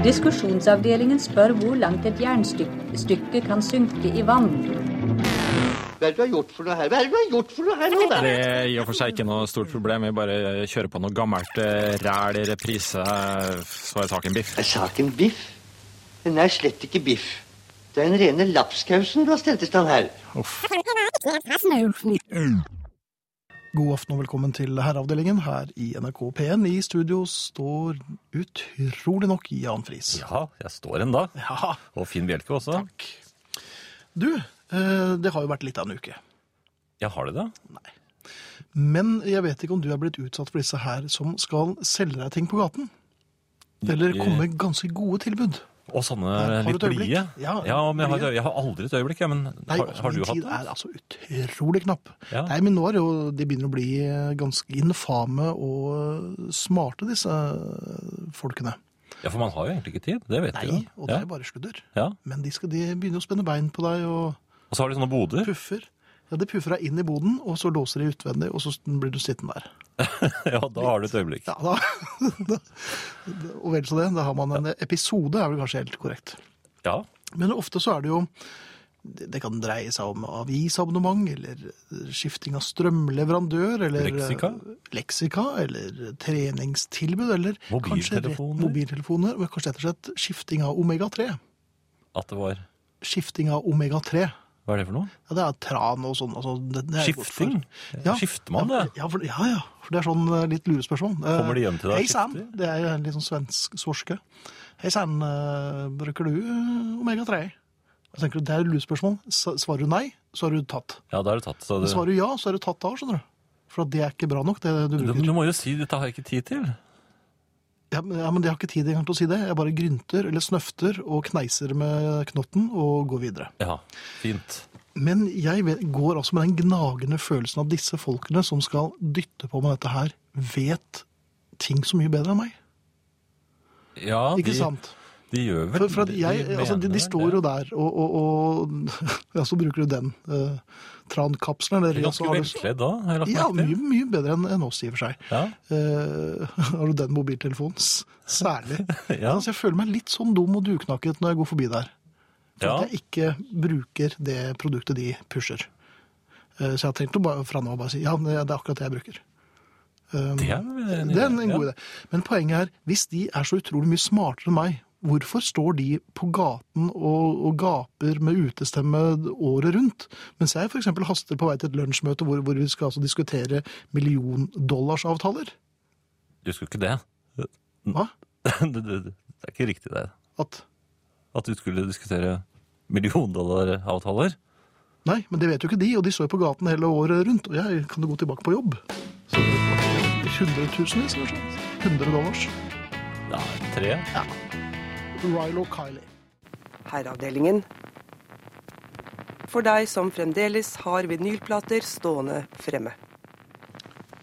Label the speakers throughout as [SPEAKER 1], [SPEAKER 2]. [SPEAKER 1] Diskusjonsavdelingen spør hvor langt et jernstykke kan synke i vann.
[SPEAKER 2] Hva er det du har gjort for noe her? Hva er det du har gjort for noe her nå, da?
[SPEAKER 3] Det er i og for seg ikke noe stort problem. Vi bare kjører på noe gammelt eh, ræl i reprise, eh, så er saken biff.
[SPEAKER 2] Er saken biff? Den er slett ikke biff. Det er den rene lapskausen du har stelt i stand her.
[SPEAKER 4] God aften og velkommen til Herreavdelingen her i NRK P1. I studio står utrolig nok Jan Friis.
[SPEAKER 5] Ja, jeg står ennå.
[SPEAKER 4] Ja,
[SPEAKER 5] Og Finn Bjelke også.
[SPEAKER 4] takk. Du, eh, det har jo vært litt av en uke.
[SPEAKER 5] Jeg har det, da.
[SPEAKER 4] Men jeg vet ikke om du er blitt utsatt for disse her som skal selge deg ting på gaten. Eller
[SPEAKER 5] Ja.
[SPEAKER 4] komme med ganske gode tilbud.
[SPEAKER 5] Og sånne
[SPEAKER 4] Har du
[SPEAKER 5] litt
[SPEAKER 4] et øyeblikk?
[SPEAKER 5] blide.
[SPEAKER 4] Ja,
[SPEAKER 5] men jeg har,
[SPEAKER 4] blide.
[SPEAKER 5] jeg har aldri et øyeblikk, jeg. Men
[SPEAKER 4] Nei,
[SPEAKER 5] har,
[SPEAKER 4] altså,
[SPEAKER 5] har du
[SPEAKER 4] min tid
[SPEAKER 5] hatt
[SPEAKER 4] er
[SPEAKER 5] det?
[SPEAKER 4] altså utrolig knapp.
[SPEAKER 5] Ja.
[SPEAKER 4] Nei, men nå er det jo, de begynner å bli eh, ganske infame og smarte, disse eh, folkene.
[SPEAKER 5] Ja, for man har jo egentlig ikke tid. Det vet du.
[SPEAKER 4] Nei,
[SPEAKER 5] jo.
[SPEAKER 4] og det
[SPEAKER 5] Ja.
[SPEAKER 4] er bare sludder.
[SPEAKER 5] Ja.
[SPEAKER 4] Men de, skal, de begynner å spenne bein på deg og
[SPEAKER 5] Og så har de sånne boder.
[SPEAKER 4] puffer. Ja, De puffer deg inn i boden, og så låser de utvendig, og så blir du sittende der.
[SPEAKER 5] Ja, da har du et øyeblikk.
[SPEAKER 4] Ja, da, og vel så det, da har man en episode, er vel kanskje helt korrekt.
[SPEAKER 5] Ja.
[SPEAKER 4] Men ofte så er det jo Det det kan dreie seg om avisabonnement, eller skifting av strømleverandør, eller eh,
[SPEAKER 5] Leksika?
[SPEAKER 4] leksika eller treningstilbud, eller kanskje rett-
[SPEAKER 5] Mobiltelefoner?
[SPEAKER 4] mobiltelefoner. Og kanskje rett og slett skifting av omega-3.
[SPEAKER 5] At det var
[SPEAKER 4] Skifting av omega-3.
[SPEAKER 5] Hva er det for noe?
[SPEAKER 4] Ja, det er tran og sånn. Altså, det, det er jeg godt for.
[SPEAKER 5] Skifting?
[SPEAKER 4] Ja.
[SPEAKER 5] Skifter man det?
[SPEAKER 4] Ja, ja, for, ja, ja, for det er sånn eh, litt lurespørsmål. Eh,
[SPEAKER 5] Kommer de hjem til deg og
[SPEAKER 4] Hei, Sam.
[SPEAKER 5] skifter?
[SPEAKER 4] Det er en litt sånn svensk sorske. Hei, Sam, eh, bruker du eh, omega-3? Da tenker du, det er et lurespørsmål. S- Svarer du nei, så er du tatt.
[SPEAKER 5] Ja, da er det tatt. Så det,
[SPEAKER 4] Svarer du ja, så er du tatt av, skjønner du. For at det er ikke bra nok, det du
[SPEAKER 5] du,
[SPEAKER 4] bruker.
[SPEAKER 5] du må jo si 'dette har jeg ikke tid til'.
[SPEAKER 4] Ja, men, ja, men jeg har ikke tid engang til å si det. Jeg bare grynter eller snøfter og kneiser med knotten og går videre.
[SPEAKER 5] Ja, fint.
[SPEAKER 4] Men jeg vet, går altså med den gnagende følelsen av disse folkene som skal dytte på med dette her, vet ting så mye bedre enn meg.
[SPEAKER 5] Ja,
[SPEAKER 4] Ikke
[SPEAKER 5] de,
[SPEAKER 4] sant?
[SPEAKER 5] de gjør vel
[SPEAKER 4] For, for at
[SPEAKER 5] det,
[SPEAKER 4] jeg, altså, de,
[SPEAKER 5] mener
[SPEAKER 4] de står jo
[SPEAKER 5] det.
[SPEAKER 4] der, og, og, og ja, så bruker du den eh, trankapselen.
[SPEAKER 5] De
[SPEAKER 4] Eller,
[SPEAKER 5] er
[SPEAKER 4] og så har
[SPEAKER 5] Ganske
[SPEAKER 4] du-
[SPEAKER 5] velkledd da, har jeg lagt
[SPEAKER 4] Ja,
[SPEAKER 5] merke
[SPEAKER 4] mye,
[SPEAKER 5] til.
[SPEAKER 4] mye bedre enn enn oss, i og for seg.
[SPEAKER 5] Ja.
[SPEAKER 4] Eh, har du den mobiltelefonen? S- Særlig.
[SPEAKER 5] Ja.
[SPEAKER 4] altså, jeg føler meg litt sånn dum og duknakket når jeg går forbi der. For
[SPEAKER 5] Ja.
[SPEAKER 4] at jeg ikke bruker det produktet de pusher. Eh, Så jeg har tenkt å bare, fra nå av bare si ja, det er akkurat det jeg bruker. Um,
[SPEAKER 5] Det er vel en
[SPEAKER 4] det er en, en
[SPEAKER 5] idé,
[SPEAKER 4] god
[SPEAKER 5] ja.
[SPEAKER 4] idé. Men poenget er, hvis de er så utrolig mye smartere enn meg, hvorfor står de på gaten og, og gaper med utestemme året rundt? Mens jeg f.eks. haster på vei til et lunsjmøte hvor, hvor vi skal altså diskutere milliondollarsavtaler.
[SPEAKER 5] Du skulle ikke det. Mm.
[SPEAKER 4] Hva?
[SPEAKER 5] Det, det, det er ikke riktig, det.
[SPEAKER 4] At
[SPEAKER 5] at du skulle diskutere milliondollar-avtaler.
[SPEAKER 4] Nei, men det vet jo ikke de, og de står jo på gaten hele året rundt. Og jeg kan jo gå tilbake på jobb. Så Hundretusenvis, kanskje. 100 dollars.
[SPEAKER 5] Ja, tre.
[SPEAKER 4] Rilo Kiley.
[SPEAKER 6] Herreavdelingen. For deg som fremdeles har vinylplater stående fremme.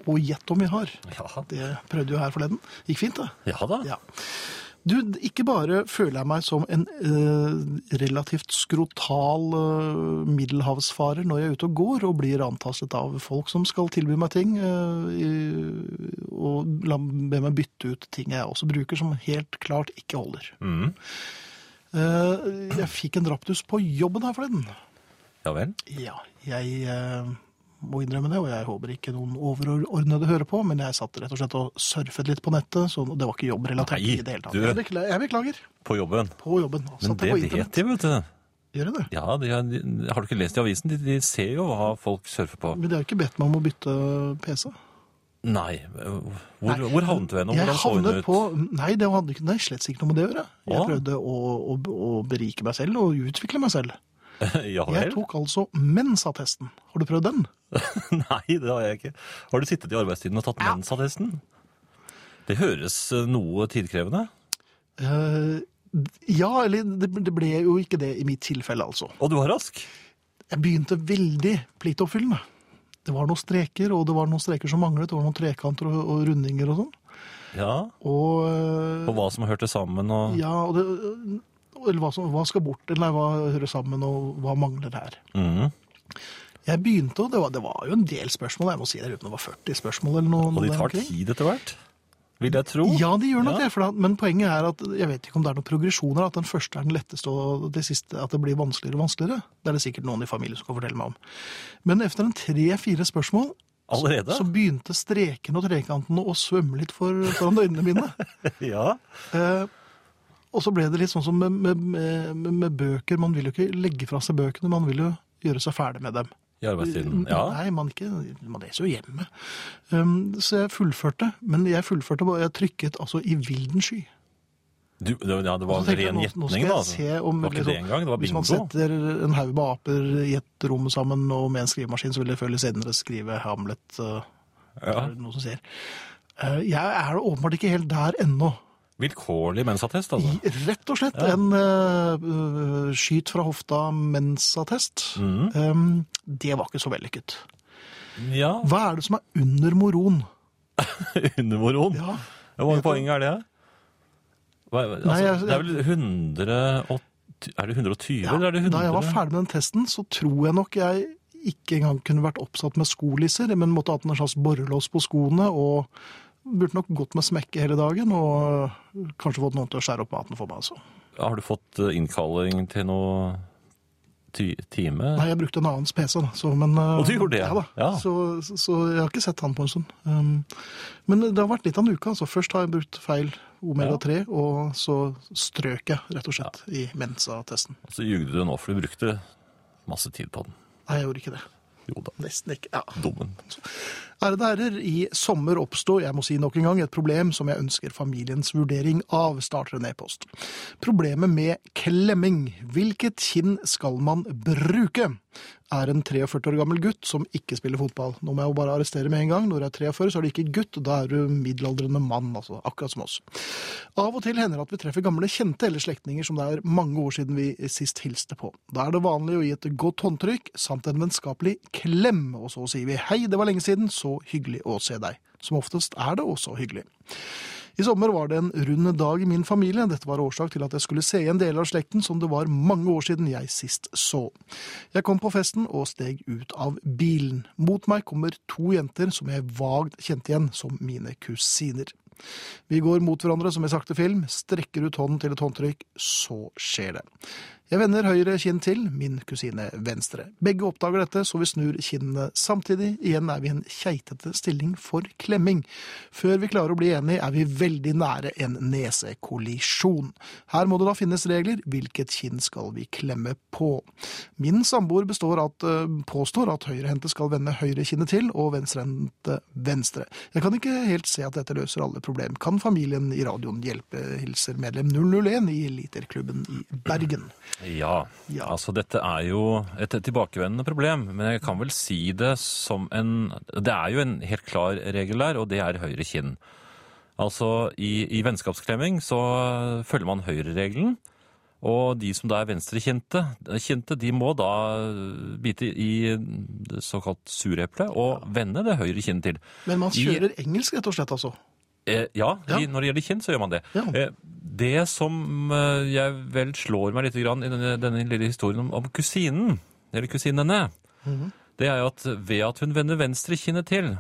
[SPEAKER 4] Og gjett om vi har.
[SPEAKER 5] Ja,
[SPEAKER 4] Det prøvde jo her forleden. Gikk fint, det.
[SPEAKER 5] ja da.
[SPEAKER 4] Ja. Du, ikke bare føler jeg meg som en eh, relativt skrotal eh, middelhavsfarer når jeg er ute og går og blir antastet av folk som skal tilby meg ting, eh, i, og la, be meg bytte ut ting jeg også bruker som helt klart ikke holder.
[SPEAKER 5] Mhm.
[SPEAKER 4] Eh, jeg fikk en raptus på jobben her forleden.
[SPEAKER 5] Ja vel.
[SPEAKER 4] Ja, jeg eh, må innrømme det, og jeg håper ikke noen overordnede hører på, men jeg satt rett og slett og surfet litt på nettet, så det var ikke jobbrelatert
[SPEAKER 5] Nei,
[SPEAKER 4] i det hele tatt.
[SPEAKER 5] du-
[SPEAKER 4] Jeg, beklager, jeg beklager.
[SPEAKER 5] På jobben.
[SPEAKER 4] På jobben.
[SPEAKER 5] Men
[SPEAKER 4] Satt
[SPEAKER 5] det
[SPEAKER 4] jeg på
[SPEAKER 5] vet
[SPEAKER 4] internett.
[SPEAKER 5] de, vet du.
[SPEAKER 4] Gjør jeg det?
[SPEAKER 5] Ja, de, har- de, Har du ikke lest i avisen? De, de ser jo hva folk surfer på.
[SPEAKER 4] Men de har jo ikke bedt meg om å bytte PC.
[SPEAKER 5] Nei. Hvor, hvor havnet du hen, og
[SPEAKER 4] Jeg
[SPEAKER 5] hvordan så hun
[SPEAKER 4] havnet
[SPEAKER 5] ut?
[SPEAKER 4] på Nei, det hadde ikke, nei, slett ikke noe med det å gjøre. Jeg
[SPEAKER 5] Å.
[SPEAKER 4] prøvde å, å, å berike meg selv og utvikle meg selv.
[SPEAKER 5] ja
[SPEAKER 4] Jeg
[SPEAKER 5] vel?
[SPEAKER 4] tok altså mensattesten. Har du prøvd den?
[SPEAKER 5] Nei, det har jeg ikke. Har du sittet i arbeidstiden og tatt mensattesten? Det høres eh, noe tidkrevende.
[SPEAKER 4] Eh, ja, eller det, det ble jo ikke det i mitt tilfelle, altså.
[SPEAKER 5] Og du var rask.
[SPEAKER 4] Jeg begynte veldig pliktoppfyllende. Det var noen streker, og det var noen streker som manglet. Det var noen trekanter og, og rundinger og sånn.
[SPEAKER 5] Ja.
[SPEAKER 4] Og, eh,
[SPEAKER 5] Og hva som hørte sammen og
[SPEAKER 4] ja, og det, eller hva, som, hva skal bort, eller nei, hva hører sammen, og hva mangler her.
[SPEAKER 5] Mhm.
[SPEAKER 4] Jeg begynte, og det var, det var jo en del spørsmål. Jeg må si det uten det var 40 spørsmål eller noe.
[SPEAKER 5] Og de
[SPEAKER 4] der
[SPEAKER 5] tar
[SPEAKER 4] omkring.
[SPEAKER 5] tid etter hvert. vil jeg tro.
[SPEAKER 4] Ja, de gjør nok
[SPEAKER 5] Ja.
[SPEAKER 4] det, for da, men poenget er at jeg vet ikke om det er noen progresjoner, at den første er den letteste, og det siste at det blir vanskeligere og vanskeligere. Det er det sikkert noen i familien som kan fortelle meg om. Men etter en tre-fire spørsmål,
[SPEAKER 5] Allerede?
[SPEAKER 4] så begynte streken og trekantene å svømme litt for, foran øynene mine.
[SPEAKER 5] Ja.
[SPEAKER 4] Eh, og så ble det litt sånn som med, med, med, med bøker, man vil jo ikke legge fra seg bøkene, man vil jo gjøre seg ferdig med dem.
[SPEAKER 5] I arbeidstiden. Ja.
[SPEAKER 4] Nei, man, ikke, man leser jo hjemme. Um, så jeg fullførte, men jeg fullførte bare, jeg trykket altså i vilden sky.
[SPEAKER 5] Du, det, ja, det
[SPEAKER 4] Og
[SPEAKER 5] var
[SPEAKER 4] så tenkte jeg,
[SPEAKER 5] ren
[SPEAKER 4] nå- nå skal
[SPEAKER 5] gjetning,
[SPEAKER 4] jeg
[SPEAKER 5] da.
[SPEAKER 4] se om- liksom,
[SPEAKER 5] det var ikke det engang, det var
[SPEAKER 4] Hvis
[SPEAKER 5] bingo.
[SPEAKER 4] man setter en haug med aper i et rom sammen og med en skrivemaskin, så vil jeg før eller senere skrive Hamlet. Uh,
[SPEAKER 5] Ja.
[SPEAKER 4] er det noe som sier. Uh, jeg er åpenbart ikke helt der ennå.
[SPEAKER 5] Vilkårlig mensattest, altså.
[SPEAKER 4] I- Rett og slett en uh, uh, skyt fra hofta mens-attest.
[SPEAKER 5] Mm.
[SPEAKER 4] Um, det var ikke så vellykket.
[SPEAKER 5] Ja,
[SPEAKER 4] Hva er det som er under moron?
[SPEAKER 5] under moron.
[SPEAKER 4] Ja,
[SPEAKER 5] Hvor mange poeng er det? Hva, altså,
[SPEAKER 4] Nei, jeg-
[SPEAKER 5] det er vel 180 Er det 120,
[SPEAKER 4] Ja,
[SPEAKER 5] eller er det
[SPEAKER 4] Da
[SPEAKER 5] 100?
[SPEAKER 4] jeg var ferdig med den testen, så tror jeg nok jeg ikke engang kunne vært oppsatt med skolisser, men måtte hatt en slags borrelås på skoene, og burde nok gått med smekke hele dagen, og kanskje fått noen til å skjære opp maten for meg, altså.
[SPEAKER 5] Har du fått eh, innkalling til noe ti time?
[SPEAKER 4] Nei, jeg brukte en annens PC, da. Så, men, eh,
[SPEAKER 5] Og du gjorde det,
[SPEAKER 4] Ja, da.
[SPEAKER 5] ja.
[SPEAKER 4] Så, så, så jeg har ikke sett han på en stund. Um, men det har vært litt av en uke, altså. Først har jeg brukt feil omega-3, og så strøk jeg, rett og slett, i Mensa-testen.
[SPEAKER 5] Så jugde du nå, for du brukte masse tid på den.
[SPEAKER 4] Nei, jeg gjorde ikke det.
[SPEAKER 5] Jo da,
[SPEAKER 4] Nesten ikke. Ja.
[SPEAKER 5] dummen.
[SPEAKER 4] Ærede herrer, i sommer oppstod, jeg må si nok en gang, et problem som jeg ønsker familiens vurdering av, starter en e-post. Problemet med klemming. Hvilket kinn skal man bruke? Er en 43 år gammel gutt som ikke spiller fotball. Nå må jeg jo bare arrestere med en gang. Når du er 43, så er du ikke gutt, da er du middelaldrende mann, altså akkurat som oss. Av og til hender det at vi treffer gamle kjente eller slektninger som det er mange år siden vi sist hilste på. Da er det vanlig å gi et godt håndtrykk samt en vennskapelig klem, og så sier vi hei, det var lenge siden, så hyggelig å se deg. Som oftest er det også hyggelig. I sommer var det en rund dag i min familie. Dette var årsak til at jeg skulle se igjen deler av slekten som det var mange år siden jeg sist så. Jeg kom på festen og steg ut av bilen. Mot meg kommer to jenter som jeg vagt kjente igjen som mine kusiner. Vi går mot hverandre som i sakte film, strekker ut hånden til et håndtrykk, så skjer det. Jeg vender høyre kinn til, min kusine venstre. Begge oppdager dette, så vi snur kinnene samtidig. Igjen er vi i en keitete stilling for klemming. Før vi klarer å bli enige, er vi veldig nære en nesekollisjon. Her må det da finnes regler. Hvilket kinn skal vi klemme på? Min samboer består at, eh, påstår at høyrehendte skal vende høyre kinnet til, og venstrehendte venstre. Jeg kan ikke helt se at dette løser alle problem. Kan familien i radioen hjelpe? Hilser medlem 001 i Literklubben i Bergen.
[SPEAKER 5] Ja,
[SPEAKER 4] Ja.
[SPEAKER 5] altså dette er jo et tilbakevendende problem, men jeg kan vel si det som en Det er jo en helt klar regel der, og det er høyre kinn. Altså i, i vennskapsklemming så følger man høyreregelen, og de som da er venstrekjente, eh, kjente, de må da bite i det såkalt sureplet og vende det høyre kinnet til.
[SPEAKER 4] Men man
[SPEAKER 5] I-
[SPEAKER 4] kjører engelsk, rett og slett, altså.
[SPEAKER 5] Eh, ja,
[SPEAKER 4] Ja.
[SPEAKER 5] i, når det gjelder kinn, så gjør man det.
[SPEAKER 4] Ja.
[SPEAKER 5] Eh, det som eh, jeg vel slår meg litt grann i denne, denne lille historien om, om kusinen, eller kusinene,
[SPEAKER 4] Mhm.
[SPEAKER 5] det er jo at ved at hun vender venstre kinnet til,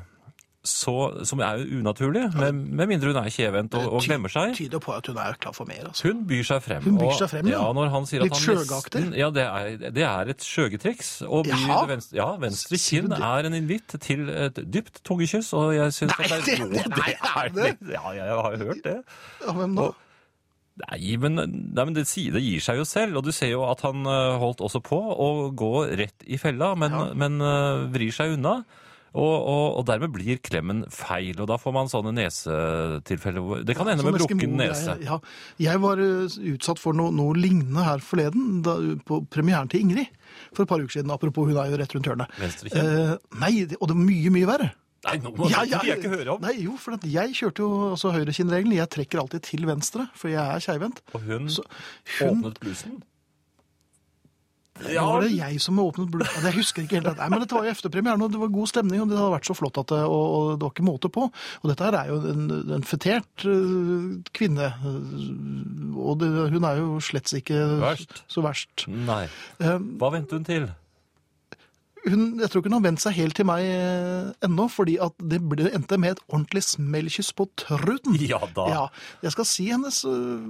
[SPEAKER 5] så, som er jo unaturlig, med, med mindre hun er kjevendt og, og
[SPEAKER 4] Ty-
[SPEAKER 5] glemmer seg,
[SPEAKER 4] Tyder på at hun er klar for mer, altså.
[SPEAKER 5] hun byr seg frem.
[SPEAKER 4] Hun byr
[SPEAKER 5] og-
[SPEAKER 4] seg frem, ja.
[SPEAKER 5] ja. Når han sier
[SPEAKER 4] Litt
[SPEAKER 5] at han
[SPEAKER 4] sjøgaktig.
[SPEAKER 5] nesten- Ja, det er, det er et sjøgetriks. Og byr
[SPEAKER 4] Jaha.
[SPEAKER 5] venstre, ja, venstre
[SPEAKER 4] Sier du
[SPEAKER 5] kinn
[SPEAKER 4] det?
[SPEAKER 5] er en invitt til et dypt tungekyss, og jeg synes
[SPEAKER 4] Nei,
[SPEAKER 5] at
[SPEAKER 4] det-
[SPEAKER 5] Jo,
[SPEAKER 4] det-
[SPEAKER 5] er
[SPEAKER 4] det er
[SPEAKER 5] det. Ja, jeg har jo hørt det.
[SPEAKER 4] Ja, hvem da?
[SPEAKER 5] Og- Nei, men, nei, men det, sier, det gir seg jo selv, og du ser jo at han eh, holdt også på å gå rett i fella, men,
[SPEAKER 4] Ja.
[SPEAKER 5] men eh, vrir seg unna. Og, og, og dermed blir klemmen feil, og da får man sånne nesetilfeller. hvor- Det kan ende
[SPEAKER 4] Sånn
[SPEAKER 5] med brukken
[SPEAKER 4] Eskimo-greie.
[SPEAKER 5] nese.
[SPEAKER 4] Ja. Jeg var ø, utsatt for noe, noe lignende her forleden, da, på premieren til Ingrid. For et par uker siden, apropos hun er jo rett rundt hjørnet.
[SPEAKER 5] Venstre kinn.
[SPEAKER 4] Eh, nei, det- og det er mye, mye verre.
[SPEAKER 5] Nei, nå må
[SPEAKER 4] Ja,
[SPEAKER 5] det vil jeg ikke høre om.
[SPEAKER 4] Nei, jo, for at jeg kjørte jo også høyrekinnregelen. Jeg trekker alltid til venstre, for jeg er keivhendt.
[SPEAKER 5] Og hun,
[SPEAKER 4] Så hun-
[SPEAKER 5] Mm. åpnet blusen.
[SPEAKER 4] Ja. Nå var det jeg som åpnet blod. Jeg husker ikke helt det. Nei, men dette var jo efter premieren, og det var god stemning, og det hadde vært så flott at det, og, og det var ikke måte på. Og dette her er jo en, en fetert øh, kvinne, øh, og det, hun er jo slett ikke
[SPEAKER 5] Verst.
[SPEAKER 4] så verst.
[SPEAKER 5] Nei.
[SPEAKER 4] Um,
[SPEAKER 5] Hva venter hun til?
[SPEAKER 4] hun, jeg tror ikke hun har vendt seg helt til meg eh, ennå, fordi at det ble, endte med et ordentlig smellkyss på truten.
[SPEAKER 5] Ja da.
[SPEAKER 4] Ja, jeg skal si hennes øh,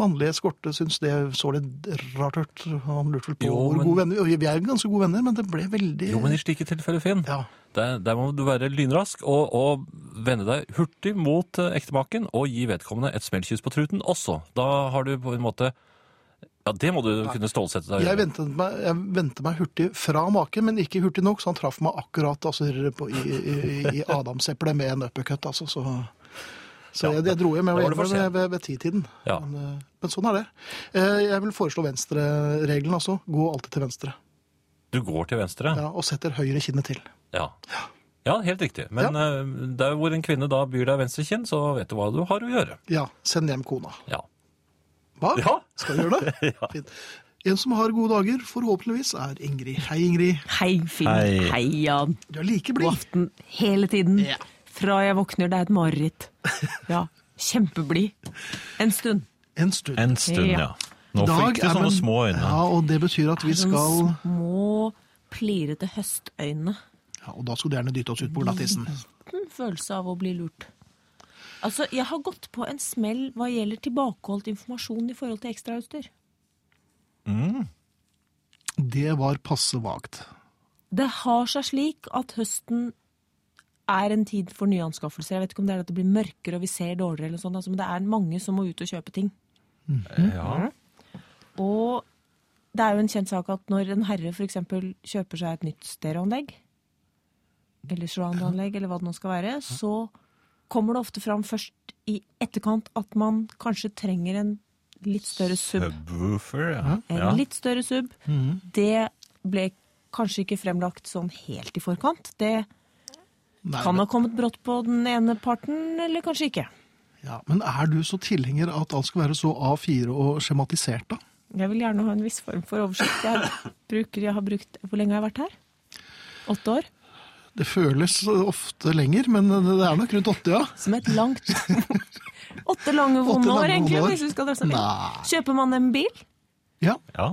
[SPEAKER 4] mannlige eskorte syns det så litt rart ut. Han lurte vel på
[SPEAKER 5] Jo,
[SPEAKER 4] hvor
[SPEAKER 5] men-
[SPEAKER 4] gode venner vi- Vi er jo ganske gode venner, men det ble veldig
[SPEAKER 5] Jo, men i slike tilfeller, Finn,
[SPEAKER 4] Ja.
[SPEAKER 5] der, der må du være lynrask og, og vende deg hurtig mot eh, ektemaken og gi vedkommende et smellkyss på truten også. Da har du på en måte Ja, det må du kunne stålsette deg
[SPEAKER 4] Jeg
[SPEAKER 5] over.
[SPEAKER 4] ventet, meg, jeg ventet meg hurtig fra maken, men ikke hurtig nok, så han traff meg akkurat altså, på, i, i, i adamseplet med en uppercut. Altså, så så
[SPEAKER 5] Ja,
[SPEAKER 4] jeg, jeg dro hjem jeg var
[SPEAKER 5] da var det for
[SPEAKER 4] hjemme ved, ved, ved titiden.
[SPEAKER 5] Ja.
[SPEAKER 4] Men, eh, men sånn er det. Eh, Jeg vil foreslå venstreregelen også. Gå alltid til venstre.
[SPEAKER 5] Du går til venstre.
[SPEAKER 4] Ja, og setter høyre kinnet til.
[SPEAKER 5] Ja. Ja, helt riktig. Men eh, der hvor en kvinne da byr deg venstre kinn, så vet du hva du har å gjøre.
[SPEAKER 4] Ja, send hjem kona.
[SPEAKER 5] Ja.
[SPEAKER 4] Hva?
[SPEAKER 5] Ja.
[SPEAKER 4] Skal vi gjøre det? Fint. En som har gode dager, forhåpentligvis, er Ingrid. Hei, Ingrid.
[SPEAKER 7] Hei, Finn.
[SPEAKER 3] Hei.
[SPEAKER 7] Hei, Jan.
[SPEAKER 4] Du er like
[SPEAKER 7] God
[SPEAKER 4] blid.
[SPEAKER 7] aften. Hele tiden.
[SPEAKER 4] Ja.
[SPEAKER 7] Fra jeg våkner, det er et mareritt. Ja, kjempeblid. En stund.
[SPEAKER 4] En stund.
[SPEAKER 3] En stund, ja.
[SPEAKER 7] Ja.
[SPEAKER 3] Nå
[SPEAKER 4] Dag
[SPEAKER 3] fikk du
[SPEAKER 4] er
[SPEAKER 3] sånne
[SPEAKER 4] man-
[SPEAKER 3] små øyne.
[SPEAKER 4] Ja, og det betyr at vi skal
[SPEAKER 7] Sånn små, plirete høstøyne.
[SPEAKER 4] ja, Og da skulle du gjerne dytte oss ut på glattisen.
[SPEAKER 7] En følelse av å bli lurt. Altså, jeg har gått på en smell hva gjelder tilbakeholdt informasjon i forhold til ekstrautstyr.
[SPEAKER 4] Det var passe vagt.
[SPEAKER 7] Det har seg slik at høsten er en tid for nye anskaffelser. Jeg vet ikke om det er at det blir mørkere og vi ser dårligere, eller noe sånt, altså, men det er mange som må ut og kjøpe ting.
[SPEAKER 5] Ja.
[SPEAKER 7] Og det er jo en kjent sak at når en herre f.eks. kjøper seg et nytt stereoanlegg, eller surround-anlegg, eller hva det nå skal være, så kommer det ofte fram først i etterkant at man kanskje trenger en litt større sub.
[SPEAKER 3] Subwoofer, ja.
[SPEAKER 7] En
[SPEAKER 3] ja.
[SPEAKER 7] litt større sub.
[SPEAKER 4] Mhm.
[SPEAKER 7] Det ble kanskje ikke fremlagt sånn helt i forkant. Det
[SPEAKER 4] Nei,
[SPEAKER 7] kan
[SPEAKER 4] men-
[SPEAKER 7] ha kommet brått på den ene parten, eller kanskje ikke.
[SPEAKER 4] ja, men er du så tilhenger av at alt skal være så A4 og skjematisert, da?
[SPEAKER 7] Jeg vil gjerne ha en viss form for oversikt. Jeg, bruker, jeg har brukt Hvor lenge har jeg vært her? Åtte år?
[SPEAKER 4] Det føles ofte lenger, men det er nok rundt 80, ja.
[SPEAKER 7] Som et langt Åtte lange
[SPEAKER 4] Åtte
[SPEAKER 7] vonde
[SPEAKER 4] lange
[SPEAKER 7] år, egentlig.
[SPEAKER 4] vonde år.
[SPEAKER 7] Hvis vi skal dra sammen.
[SPEAKER 4] Nei.
[SPEAKER 7] Kjøper man en bil,
[SPEAKER 4] Ja,
[SPEAKER 5] ja.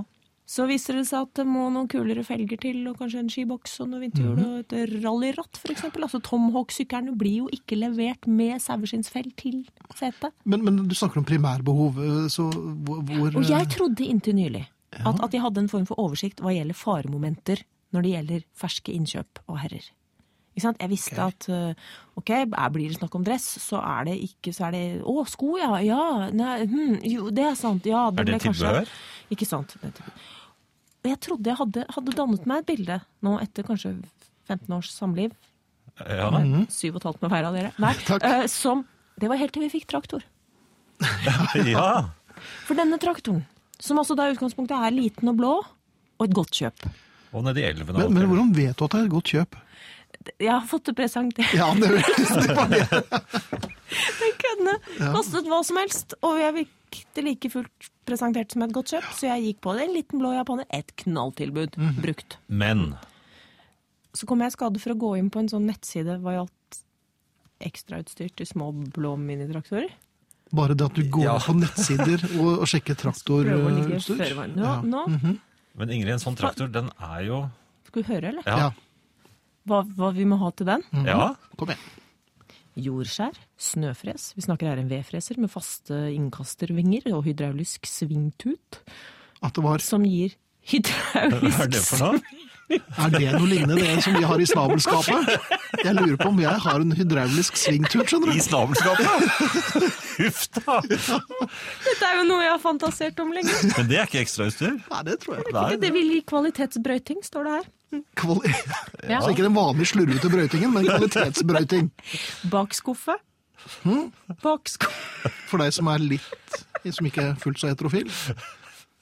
[SPEAKER 7] så viser det seg at det må noen kulere felger til, og kanskje en skiboks og noe vinterhjul og et rallyratt, for eksempel. Altså, Tomhawk-syklene blir jo ikke levert med saueskinnsfell til setet.
[SPEAKER 4] men, men du snakker om primærbehov, eh, så hvor, hvor eh,
[SPEAKER 7] Og jeg trodde inntil nylig at, at jeg hadde en form for oversikt hva gjelder faremomenter når det gjelder ferske innkjøp og herrer. Ikke sant? Jeg visste at øh, ok, er- blir det snakk om dress, så er det ikke så er det, Å, sko, ja! ja nei, hm, jo, det er sant. Ja, det
[SPEAKER 3] Er det
[SPEAKER 7] ble kanskje-
[SPEAKER 3] tilbehør?
[SPEAKER 7] Ikke sant. det er tilbehør. Og jeg trodde jeg hadde, hadde dannet meg et bilde nå etter kanskje 15 års samliv.
[SPEAKER 5] ja.
[SPEAKER 4] Mm.
[SPEAKER 3] Mm.
[SPEAKER 7] Syv og et halvt med hver av dere. Nei,
[SPEAKER 4] Takk.
[SPEAKER 7] øh, som Det var helt til vi fikk traktor.
[SPEAKER 5] ja.
[SPEAKER 7] For denne traktoren, som altså da i utgangspunktet er liten og blå, og et godt kjøp.
[SPEAKER 5] Og nedi elven.
[SPEAKER 4] men,
[SPEAKER 5] og
[SPEAKER 4] men
[SPEAKER 5] alt
[SPEAKER 4] hvordan vet du at det er et godt kjøp?
[SPEAKER 7] Jeg har fått det presentert.
[SPEAKER 4] Ja, det, det var det.
[SPEAKER 7] Jeg kunne kostet hva som helst, og jeg fikk det like fullt presentert som et godt kjøp, så jeg gikk på det. En liten blå japaner, et knalltilbud, brukt.
[SPEAKER 5] det. Men
[SPEAKER 7] Så kom jeg i skade for å gå inn på en sånn nettside hva gjaldt ekstrautstyr til små blå minitraktorer.
[SPEAKER 4] Bare det at du går på nettsider og, og sjekker
[SPEAKER 7] Prøver å ligge føre
[SPEAKER 4] traktorutstyr.
[SPEAKER 7] var- Nå, nå
[SPEAKER 5] Men Ingrid, en sånn traktor, den er jo
[SPEAKER 7] skal vi høre, eller?
[SPEAKER 5] Ja.
[SPEAKER 4] Ja.
[SPEAKER 7] Hva, hva vi må ha til den?
[SPEAKER 4] Mm.
[SPEAKER 5] ja.
[SPEAKER 4] Kom igjen.
[SPEAKER 7] Jordskjær, snøfres, vi snakker her en vedfreser med faste innkastervinger og hydraulisk svingtut,
[SPEAKER 4] At det var
[SPEAKER 7] som gir hydraulisk
[SPEAKER 5] Hva er det for noe?
[SPEAKER 4] Er det noe lignende det som vi har i snabelskapet? Jeg lurer på om jeg har en hydraulisk svingtur, skjønner
[SPEAKER 5] I
[SPEAKER 4] du.
[SPEAKER 5] snabelskapet? Huff da!
[SPEAKER 7] Det er jo noe jeg har fantasert om lenge.
[SPEAKER 5] Men det er ikke ekstrautstyr.
[SPEAKER 4] Nei, det tror jeg.
[SPEAKER 5] Nei.
[SPEAKER 7] Det vil gi kvalitetsbrøyting, står det her.
[SPEAKER 4] Kvali
[SPEAKER 7] Ja.
[SPEAKER 4] Så ikke den vanlige slurvete brøytingen, men kvalitetsbrøyting.
[SPEAKER 7] Bakskuffe. Bakskuffe.
[SPEAKER 4] For deg som er litt som ikke er fullt så heterofil.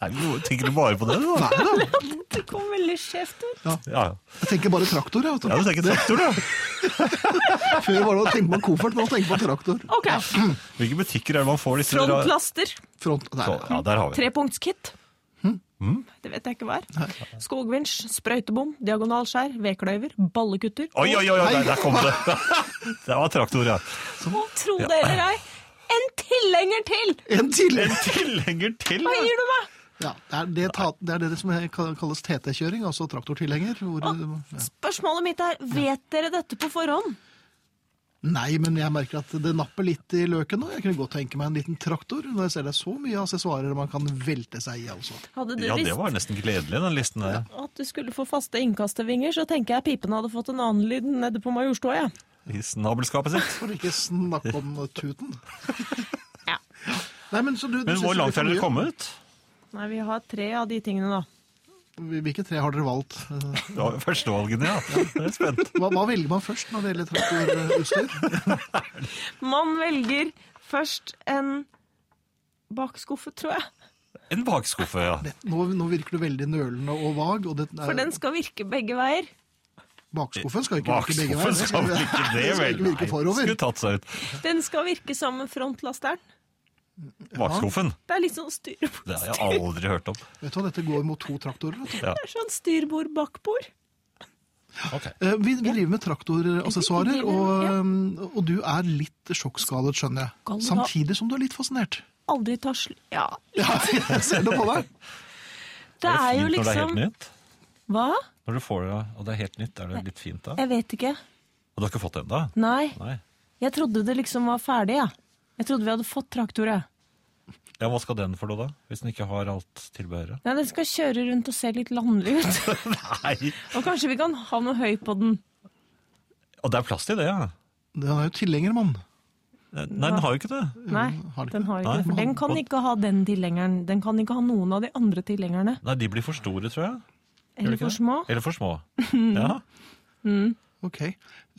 [SPEAKER 5] Nei, men Tenker du bare på det, du, da?
[SPEAKER 4] Nei da,
[SPEAKER 7] Det kom veldig skjevt ut.
[SPEAKER 5] Ja,
[SPEAKER 4] jeg tenker bare traktor. Jeg,
[SPEAKER 5] ja, du
[SPEAKER 4] vet
[SPEAKER 5] tenker traktor, da.
[SPEAKER 4] du. Før var det å tenke på koffert, nå tenker jeg på traktor.
[SPEAKER 7] Ok,
[SPEAKER 5] Hvilke butikker er det man får disse ra-
[SPEAKER 7] Frontlaster.
[SPEAKER 4] Front. Nei,
[SPEAKER 5] Så, Ja, der har vi det. Hm?
[SPEAKER 7] Trepunktskit. Hm? Det vet jeg ikke hva er. Skogvinsj, sprøytebom, diagonalskjær, vedkløyver, ballekutter.
[SPEAKER 5] Oi, oi, oi, oi, der, der kom det! Det var traktor, ja.
[SPEAKER 7] Og tro det eller ei, en tilhenger til!
[SPEAKER 4] En til!
[SPEAKER 5] En tilhenger til!
[SPEAKER 7] Hva
[SPEAKER 5] ja.
[SPEAKER 7] gir du meg?
[SPEAKER 4] Ja, det er det, ta, det, er det som kalles TT-kjøring, altså traktortilhenger. Hvor, ja.
[SPEAKER 7] Spørsmålet mitt er, vet dere dette på forhånd?
[SPEAKER 4] Nei, men jeg merker at det napper litt i løken nå. Jeg kunne godt tenke meg en liten traktor. Når jeg ser det er så mye assessoarer man kan velte seg i, altså.
[SPEAKER 7] Hadde du
[SPEAKER 5] Ja, det
[SPEAKER 7] visst
[SPEAKER 5] var nesten gledelig, den listen der.
[SPEAKER 7] at du skulle få faste innkastevinger, så tenker jeg pipen hadde fått en annen lyd nede på Majorstua, ja.
[SPEAKER 5] I snabelskapet sitt.
[SPEAKER 4] For ikke snakke om tuten.
[SPEAKER 7] Ja.
[SPEAKER 4] Nei, men så du, du
[SPEAKER 5] Men
[SPEAKER 4] synes det er
[SPEAKER 5] hvor langt
[SPEAKER 4] litt
[SPEAKER 5] har
[SPEAKER 4] mye.
[SPEAKER 5] dere kommet?
[SPEAKER 7] Nei, vi har tre av de tingene, da.
[SPEAKER 4] Hvilke tre har dere valgt?
[SPEAKER 5] Det var jo førstevalgene, ja. Jeg er spent.
[SPEAKER 4] Hva, hva velger man først når det gjelder traktorutstyr?
[SPEAKER 7] Man velger først en bakskuffe, tror jeg.
[SPEAKER 5] En bakskuffe, ja.
[SPEAKER 4] Nå, nå virker du veldig nølende og vag, og det
[SPEAKER 7] For
[SPEAKER 4] er,
[SPEAKER 7] den skal virke begge veier.
[SPEAKER 4] bakskuffen skal ikke virke begge
[SPEAKER 5] Bakskuffen
[SPEAKER 4] veier.
[SPEAKER 5] skal vel ikke
[SPEAKER 4] Den
[SPEAKER 5] det,
[SPEAKER 4] skal
[SPEAKER 5] vel?
[SPEAKER 4] ikke virke forover.
[SPEAKER 5] skulle tatt seg ut.
[SPEAKER 7] Den skal virke sammen frontlasteren.
[SPEAKER 5] Bakskuffen.
[SPEAKER 7] Det er litt sånn styrbord,
[SPEAKER 5] Det har jeg aldri hørt om.
[SPEAKER 4] Vet du hva, dette går mot to traktorer. vet du.
[SPEAKER 7] det er sånn styrbord bakbord.
[SPEAKER 4] Eh, Vi, vi driver med traktorassessoarer,
[SPEAKER 7] Vi driver-
[SPEAKER 4] og, eh, og du er litt sjokkskadet, skjønner
[SPEAKER 7] Skal
[SPEAKER 4] jeg.
[SPEAKER 7] du ha-
[SPEAKER 4] Samtidig som du er litt fascinert.
[SPEAKER 7] Aldri tar sl... Ja,
[SPEAKER 4] Ja, jeg ser det på deg.
[SPEAKER 7] det
[SPEAKER 5] Er det fint når
[SPEAKER 7] er jo
[SPEAKER 5] det er helt
[SPEAKER 7] liksom
[SPEAKER 5] nytt?
[SPEAKER 7] Hva?
[SPEAKER 5] Når du får det, og det er helt nytt, er det litt fint da?
[SPEAKER 7] Jeg vet ikke.
[SPEAKER 5] Og du har ikke fått det ennå?
[SPEAKER 7] Nei.
[SPEAKER 5] Nei.
[SPEAKER 7] Jeg trodde det liksom var ferdig, jeg. Jeg trodde vi hadde fått traktor, jeg.
[SPEAKER 5] Ja, hva skal den for noe, da? Hvis den ikke har alt tilbehøret?
[SPEAKER 7] Nei, den skal kjøre rundt og se litt landlig ut.
[SPEAKER 5] Nei!
[SPEAKER 7] Og kanskje vi kan ha noe høy på den.
[SPEAKER 5] Og det er plass til det, ja.
[SPEAKER 4] Den er jo tilhenger, mann.
[SPEAKER 5] Nei, den har jo ikke det.
[SPEAKER 7] Nei,
[SPEAKER 4] har den
[SPEAKER 7] den har ikke
[SPEAKER 5] Nei.
[SPEAKER 7] det. For den kan ikke ha den tilhengeren. Den kan ikke ha noen av de andre tilhengerne.
[SPEAKER 5] Nei, de blir for store, tror jeg.
[SPEAKER 7] Eller
[SPEAKER 5] ikke
[SPEAKER 7] for
[SPEAKER 5] det?
[SPEAKER 7] små.
[SPEAKER 5] Eller for små. Ja.
[SPEAKER 4] Ok.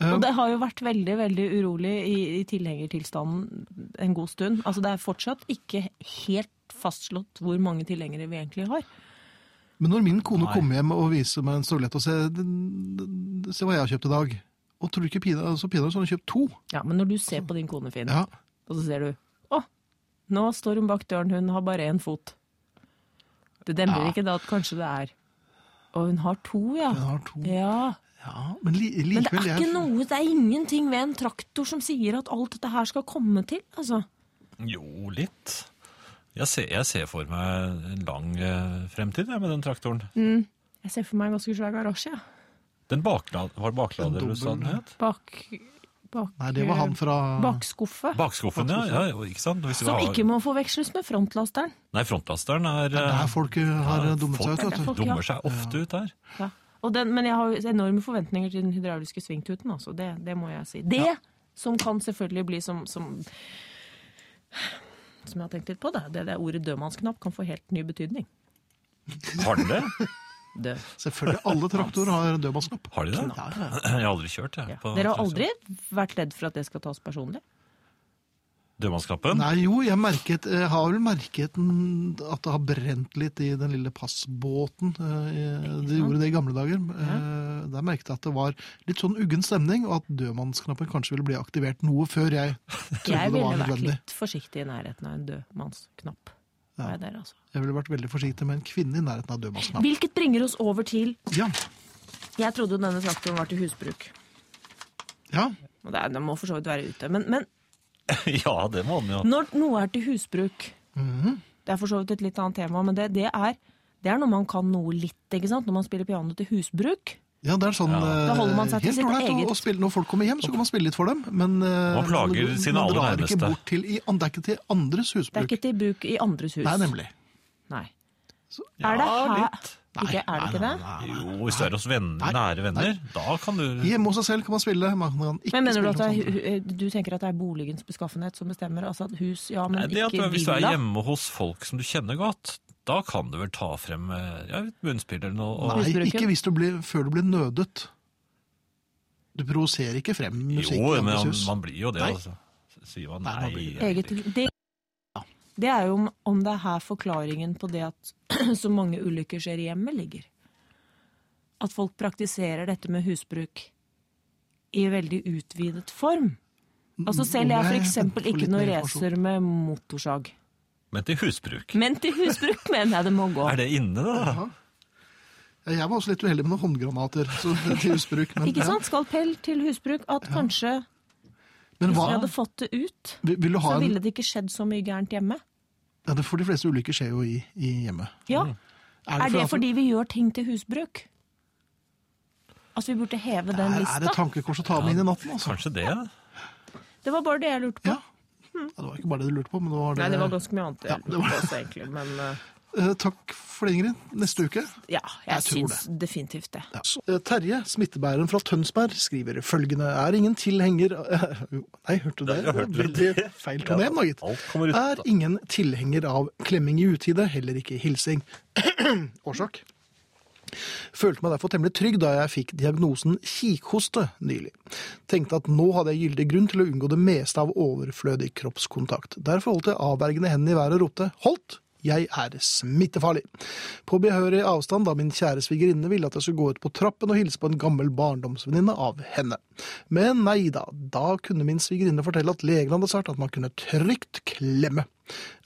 [SPEAKER 4] Eh,
[SPEAKER 7] Og det har jo vært veldig veldig urolig i, i tilhengertilstanden en god stund. Altså Det er fortsatt ikke helt fastslått hvor mange tilhengere vi egentlig har.
[SPEAKER 4] Men når min kone
[SPEAKER 5] Nei.
[SPEAKER 4] kommer hjem og viser meg en stolett og sier "Den- den- den- Se hva jeg har kjøpt i dag. Og tror du ikke pina, så pinadø så har hun kjøpt to.
[SPEAKER 7] Ja, Men når du ser på din kone, Finn,
[SPEAKER 4] Ja.
[SPEAKER 7] og så ser du Å, nå står hun bak døren, hun har bare én fot. Det demrer ikke da at kanskje det er Og hun har to, ja.
[SPEAKER 4] Jeg har to.
[SPEAKER 7] ja.
[SPEAKER 4] Ja, men li,
[SPEAKER 7] Men det
[SPEAKER 4] likevel
[SPEAKER 7] er
[SPEAKER 4] jeg-
[SPEAKER 7] ikke noe, det er ingenting ved en traktor som sier at alt dette her skal komme til, altså.
[SPEAKER 5] Jo, litt. Jeg ser, jeg ser for meg en lang eh, fremtid jeg, med den traktoren.
[SPEAKER 7] Jeg ser for meg en ganske svær garasje, ja.
[SPEAKER 5] Den bakla, var det baklader du sa den
[SPEAKER 4] dobbel-
[SPEAKER 5] het?
[SPEAKER 7] Bak, bak,
[SPEAKER 4] Nei, det var han fra
[SPEAKER 7] Bakskuffe.
[SPEAKER 5] Bakskuffen, ja. ja. jo, Ikke sant? Hvis vi
[SPEAKER 7] Som
[SPEAKER 5] har-
[SPEAKER 7] ikke må forveksles med frontlasteren.
[SPEAKER 5] Nei, frontlasteren er
[SPEAKER 4] Der
[SPEAKER 5] eh,
[SPEAKER 4] folk eh, har
[SPEAKER 5] Ja,
[SPEAKER 4] dummet seg ut, vet du.
[SPEAKER 7] folk-
[SPEAKER 5] Dummer seg ofte ut der.
[SPEAKER 7] Ja. Og den, men jeg har jo enorme forventninger til den hydrauliske svingtuten, altså. Det, det må jeg si. Det som kan selvfølgelig bli som, som som jeg har tenkt litt på, det, det, det ordet dødmannsknapp kan få helt ny betydning.
[SPEAKER 5] Har den det?
[SPEAKER 7] Død.
[SPEAKER 4] Selvfølgelig. Alle traktorer har dødmannsknapp.
[SPEAKER 5] Har de det?
[SPEAKER 4] Ja, ja. ja.
[SPEAKER 5] Jeg har aldri kjørt, jeg.
[SPEAKER 7] Ja.
[SPEAKER 5] på
[SPEAKER 7] Dere har
[SPEAKER 5] traktor.
[SPEAKER 7] aldri vært redd for at det skal tas personlig?
[SPEAKER 5] Dødmannsknappen?
[SPEAKER 4] Nei, jo, jeg, merket, jeg har vel merket den- at det har brent litt i den lille passbåten. eh, i- De gjorde det i gamle dager. Eh, Der merket jeg at det var litt sånn uggen stemning, og at dødmannsknappen kanskje ville bli aktivert noe før jeg trodde
[SPEAKER 7] Jeg
[SPEAKER 4] det var
[SPEAKER 7] ville vært
[SPEAKER 4] nødvendig.
[SPEAKER 7] litt forsiktig i nærheten av en dødmannsknapp. Var jeg der, altså.
[SPEAKER 4] Jeg ville vært veldig forsiktig med en kvinne i nærheten av dødmannsknappen.
[SPEAKER 7] Hvilket bringer oss over til
[SPEAKER 4] Ja,
[SPEAKER 7] Jeg trodde jo denne traktoren var til husbruk.
[SPEAKER 4] ja.
[SPEAKER 7] Og det er, den må for så vidt være ute. Men, men
[SPEAKER 5] Ja, det må den jo.
[SPEAKER 7] Når noe er til husbruk
[SPEAKER 5] Mhm.
[SPEAKER 7] Det er for så vidt et litt annet tema, men det, det, er, det er når man kan noe litt. ikke sant? Når man spiller piano til husbruk.
[SPEAKER 4] ja det er sånn eh,
[SPEAKER 7] Da holder man seg til
[SPEAKER 4] helt
[SPEAKER 7] sitt
[SPEAKER 4] ålreit å-
[SPEAKER 7] eget.
[SPEAKER 4] å spille. Når folk kommer hjem, så kan man spille litt for dem. Men eh,
[SPEAKER 5] Man plager
[SPEAKER 4] man-
[SPEAKER 5] sine
[SPEAKER 4] man
[SPEAKER 5] aller
[SPEAKER 4] drar ikke
[SPEAKER 5] nærmeste.
[SPEAKER 4] bort til, i, an- Det er ikke til andres
[SPEAKER 7] Det er
[SPEAKER 4] husbruk.
[SPEAKER 7] ikke til bruk i andres hus.
[SPEAKER 4] Nei, nemlig.
[SPEAKER 7] Nei.
[SPEAKER 5] Ja,
[SPEAKER 7] er det her
[SPEAKER 5] litt.
[SPEAKER 7] ikke, Er det ikke
[SPEAKER 4] nei, nei,
[SPEAKER 7] det?
[SPEAKER 4] nei, nei.
[SPEAKER 5] Jo, hvis du er hos venner, nære venner, da kan du
[SPEAKER 4] Hjemme hos seg selv kan man spille. Man kan ikke
[SPEAKER 7] Men mener du
[SPEAKER 4] spille hos
[SPEAKER 7] at det
[SPEAKER 4] andre.
[SPEAKER 7] er, hu- du tenker at det er boligens beskaffenhet som bestemmer? Altså at hus, ja, men
[SPEAKER 5] Nei, det at
[SPEAKER 7] ikke
[SPEAKER 5] Hvis du er
[SPEAKER 7] villa?
[SPEAKER 5] hjemme hos folk som du kjenner godt, da kan du vel ta frem eh, ja, et munnspill eller noe. Og,
[SPEAKER 4] Nei,
[SPEAKER 7] husbruken?
[SPEAKER 4] ikke hvis du blir, før du blir nødet. Du provoserer ikke frem musikk
[SPEAKER 5] jo,
[SPEAKER 4] i
[SPEAKER 5] men
[SPEAKER 4] andres
[SPEAKER 5] man,
[SPEAKER 4] hus.
[SPEAKER 5] man blir jo det.
[SPEAKER 4] Nei.
[SPEAKER 5] Altså. Så Sier man
[SPEAKER 4] Nei,
[SPEAKER 5] nei.
[SPEAKER 4] man blir
[SPEAKER 7] Eget, det, det er jo om, om det er her forklaringen på det at så mange ulykker skjer i hjemmet, ligger. At folk praktiserer dette med husbruk i veldig utvidet form. Altså Selv jeg
[SPEAKER 4] Nei,
[SPEAKER 7] for
[SPEAKER 4] vent,
[SPEAKER 7] eksempel
[SPEAKER 4] få litt
[SPEAKER 7] ikke noe
[SPEAKER 4] mer informasjon.
[SPEAKER 7] racer med motorsag.
[SPEAKER 5] Men til husbruk.
[SPEAKER 7] Men til husbruk mener jeg det må gå.
[SPEAKER 5] Er det inne, da?
[SPEAKER 4] Ja, Jeg var også litt uheldig med noen håndgranater så, til husbruk. Men,
[SPEAKER 7] Ikke sant? Skalpell til husbruk. At kanskje
[SPEAKER 4] Ja. men
[SPEAKER 7] hvis vi
[SPEAKER 4] hva,
[SPEAKER 7] hadde fått det ut,
[SPEAKER 4] vil, vil du
[SPEAKER 7] så
[SPEAKER 4] ha en
[SPEAKER 7] ville det ikke skjedd så mye gærent hjemme.
[SPEAKER 4] Ja, det- for de fleste ulykker skjer jo i, i hjemmet.
[SPEAKER 7] Ja. Er det
[SPEAKER 4] at-
[SPEAKER 7] fordi vi gjør ting til husbruk? Altså, vi burde heve den
[SPEAKER 4] Er, er det et
[SPEAKER 7] lista?
[SPEAKER 4] tankekors å ta med inn i natten? Altså?
[SPEAKER 5] Kanskje det?
[SPEAKER 7] Det var bare det jeg lurte på.
[SPEAKER 4] Ja. ja. Det var ikke bare det du lurte på, men det var det.
[SPEAKER 7] Nei, det var ganske mye annet jeg
[SPEAKER 4] Ja, det
[SPEAKER 7] lurte
[SPEAKER 4] var-
[SPEAKER 7] på også, egentlig. Men eh,
[SPEAKER 4] Eh, Takk for det, Ingrid. Neste uke.
[SPEAKER 7] ja, jeg,
[SPEAKER 4] Jeg tror
[SPEAKER 7] syns definitivt det.
[SPEAKER 4] Ja. Så, eh, Terje, smittebæreren fra Tønsberg, skriver følgende Er ingen tilhenger Jo, Nei, hørte du det?
[SPEAKER 5] jeg hørte
[SPEAKER 4] Veldig
[SPEAKER 5] det.
[SPEAKER 4] feil tone igjen, da, gitt.
[SPEAKER 5] Alt kommer ut,
[SPEAKER 4] Er
[SPEAKER 5] da.
[SPEAKER 4] ingen tilhenger av klemming i utide, heller ikke hilsing. Årsak? Følte meg derfor temmelig trygg da jeg fikk diagnosen kikhoste nylig. Tenkte at nå hadde jeg gyldig grunn til å unngå det meste av overflødig kroppskontakt. Derfor holdt jeg avvergende hendene i været og ropte 'holdt'. Jeg er smittefarlig. På behørig avstand da min kjære svigerinne ville at jeg skulle gå ut på trappen og hilse på en gammel barndomsvenninne av henne. Men nei da, da kunne min svigerinne fortelle at legen hadde sagt at man kunne trygt klemme.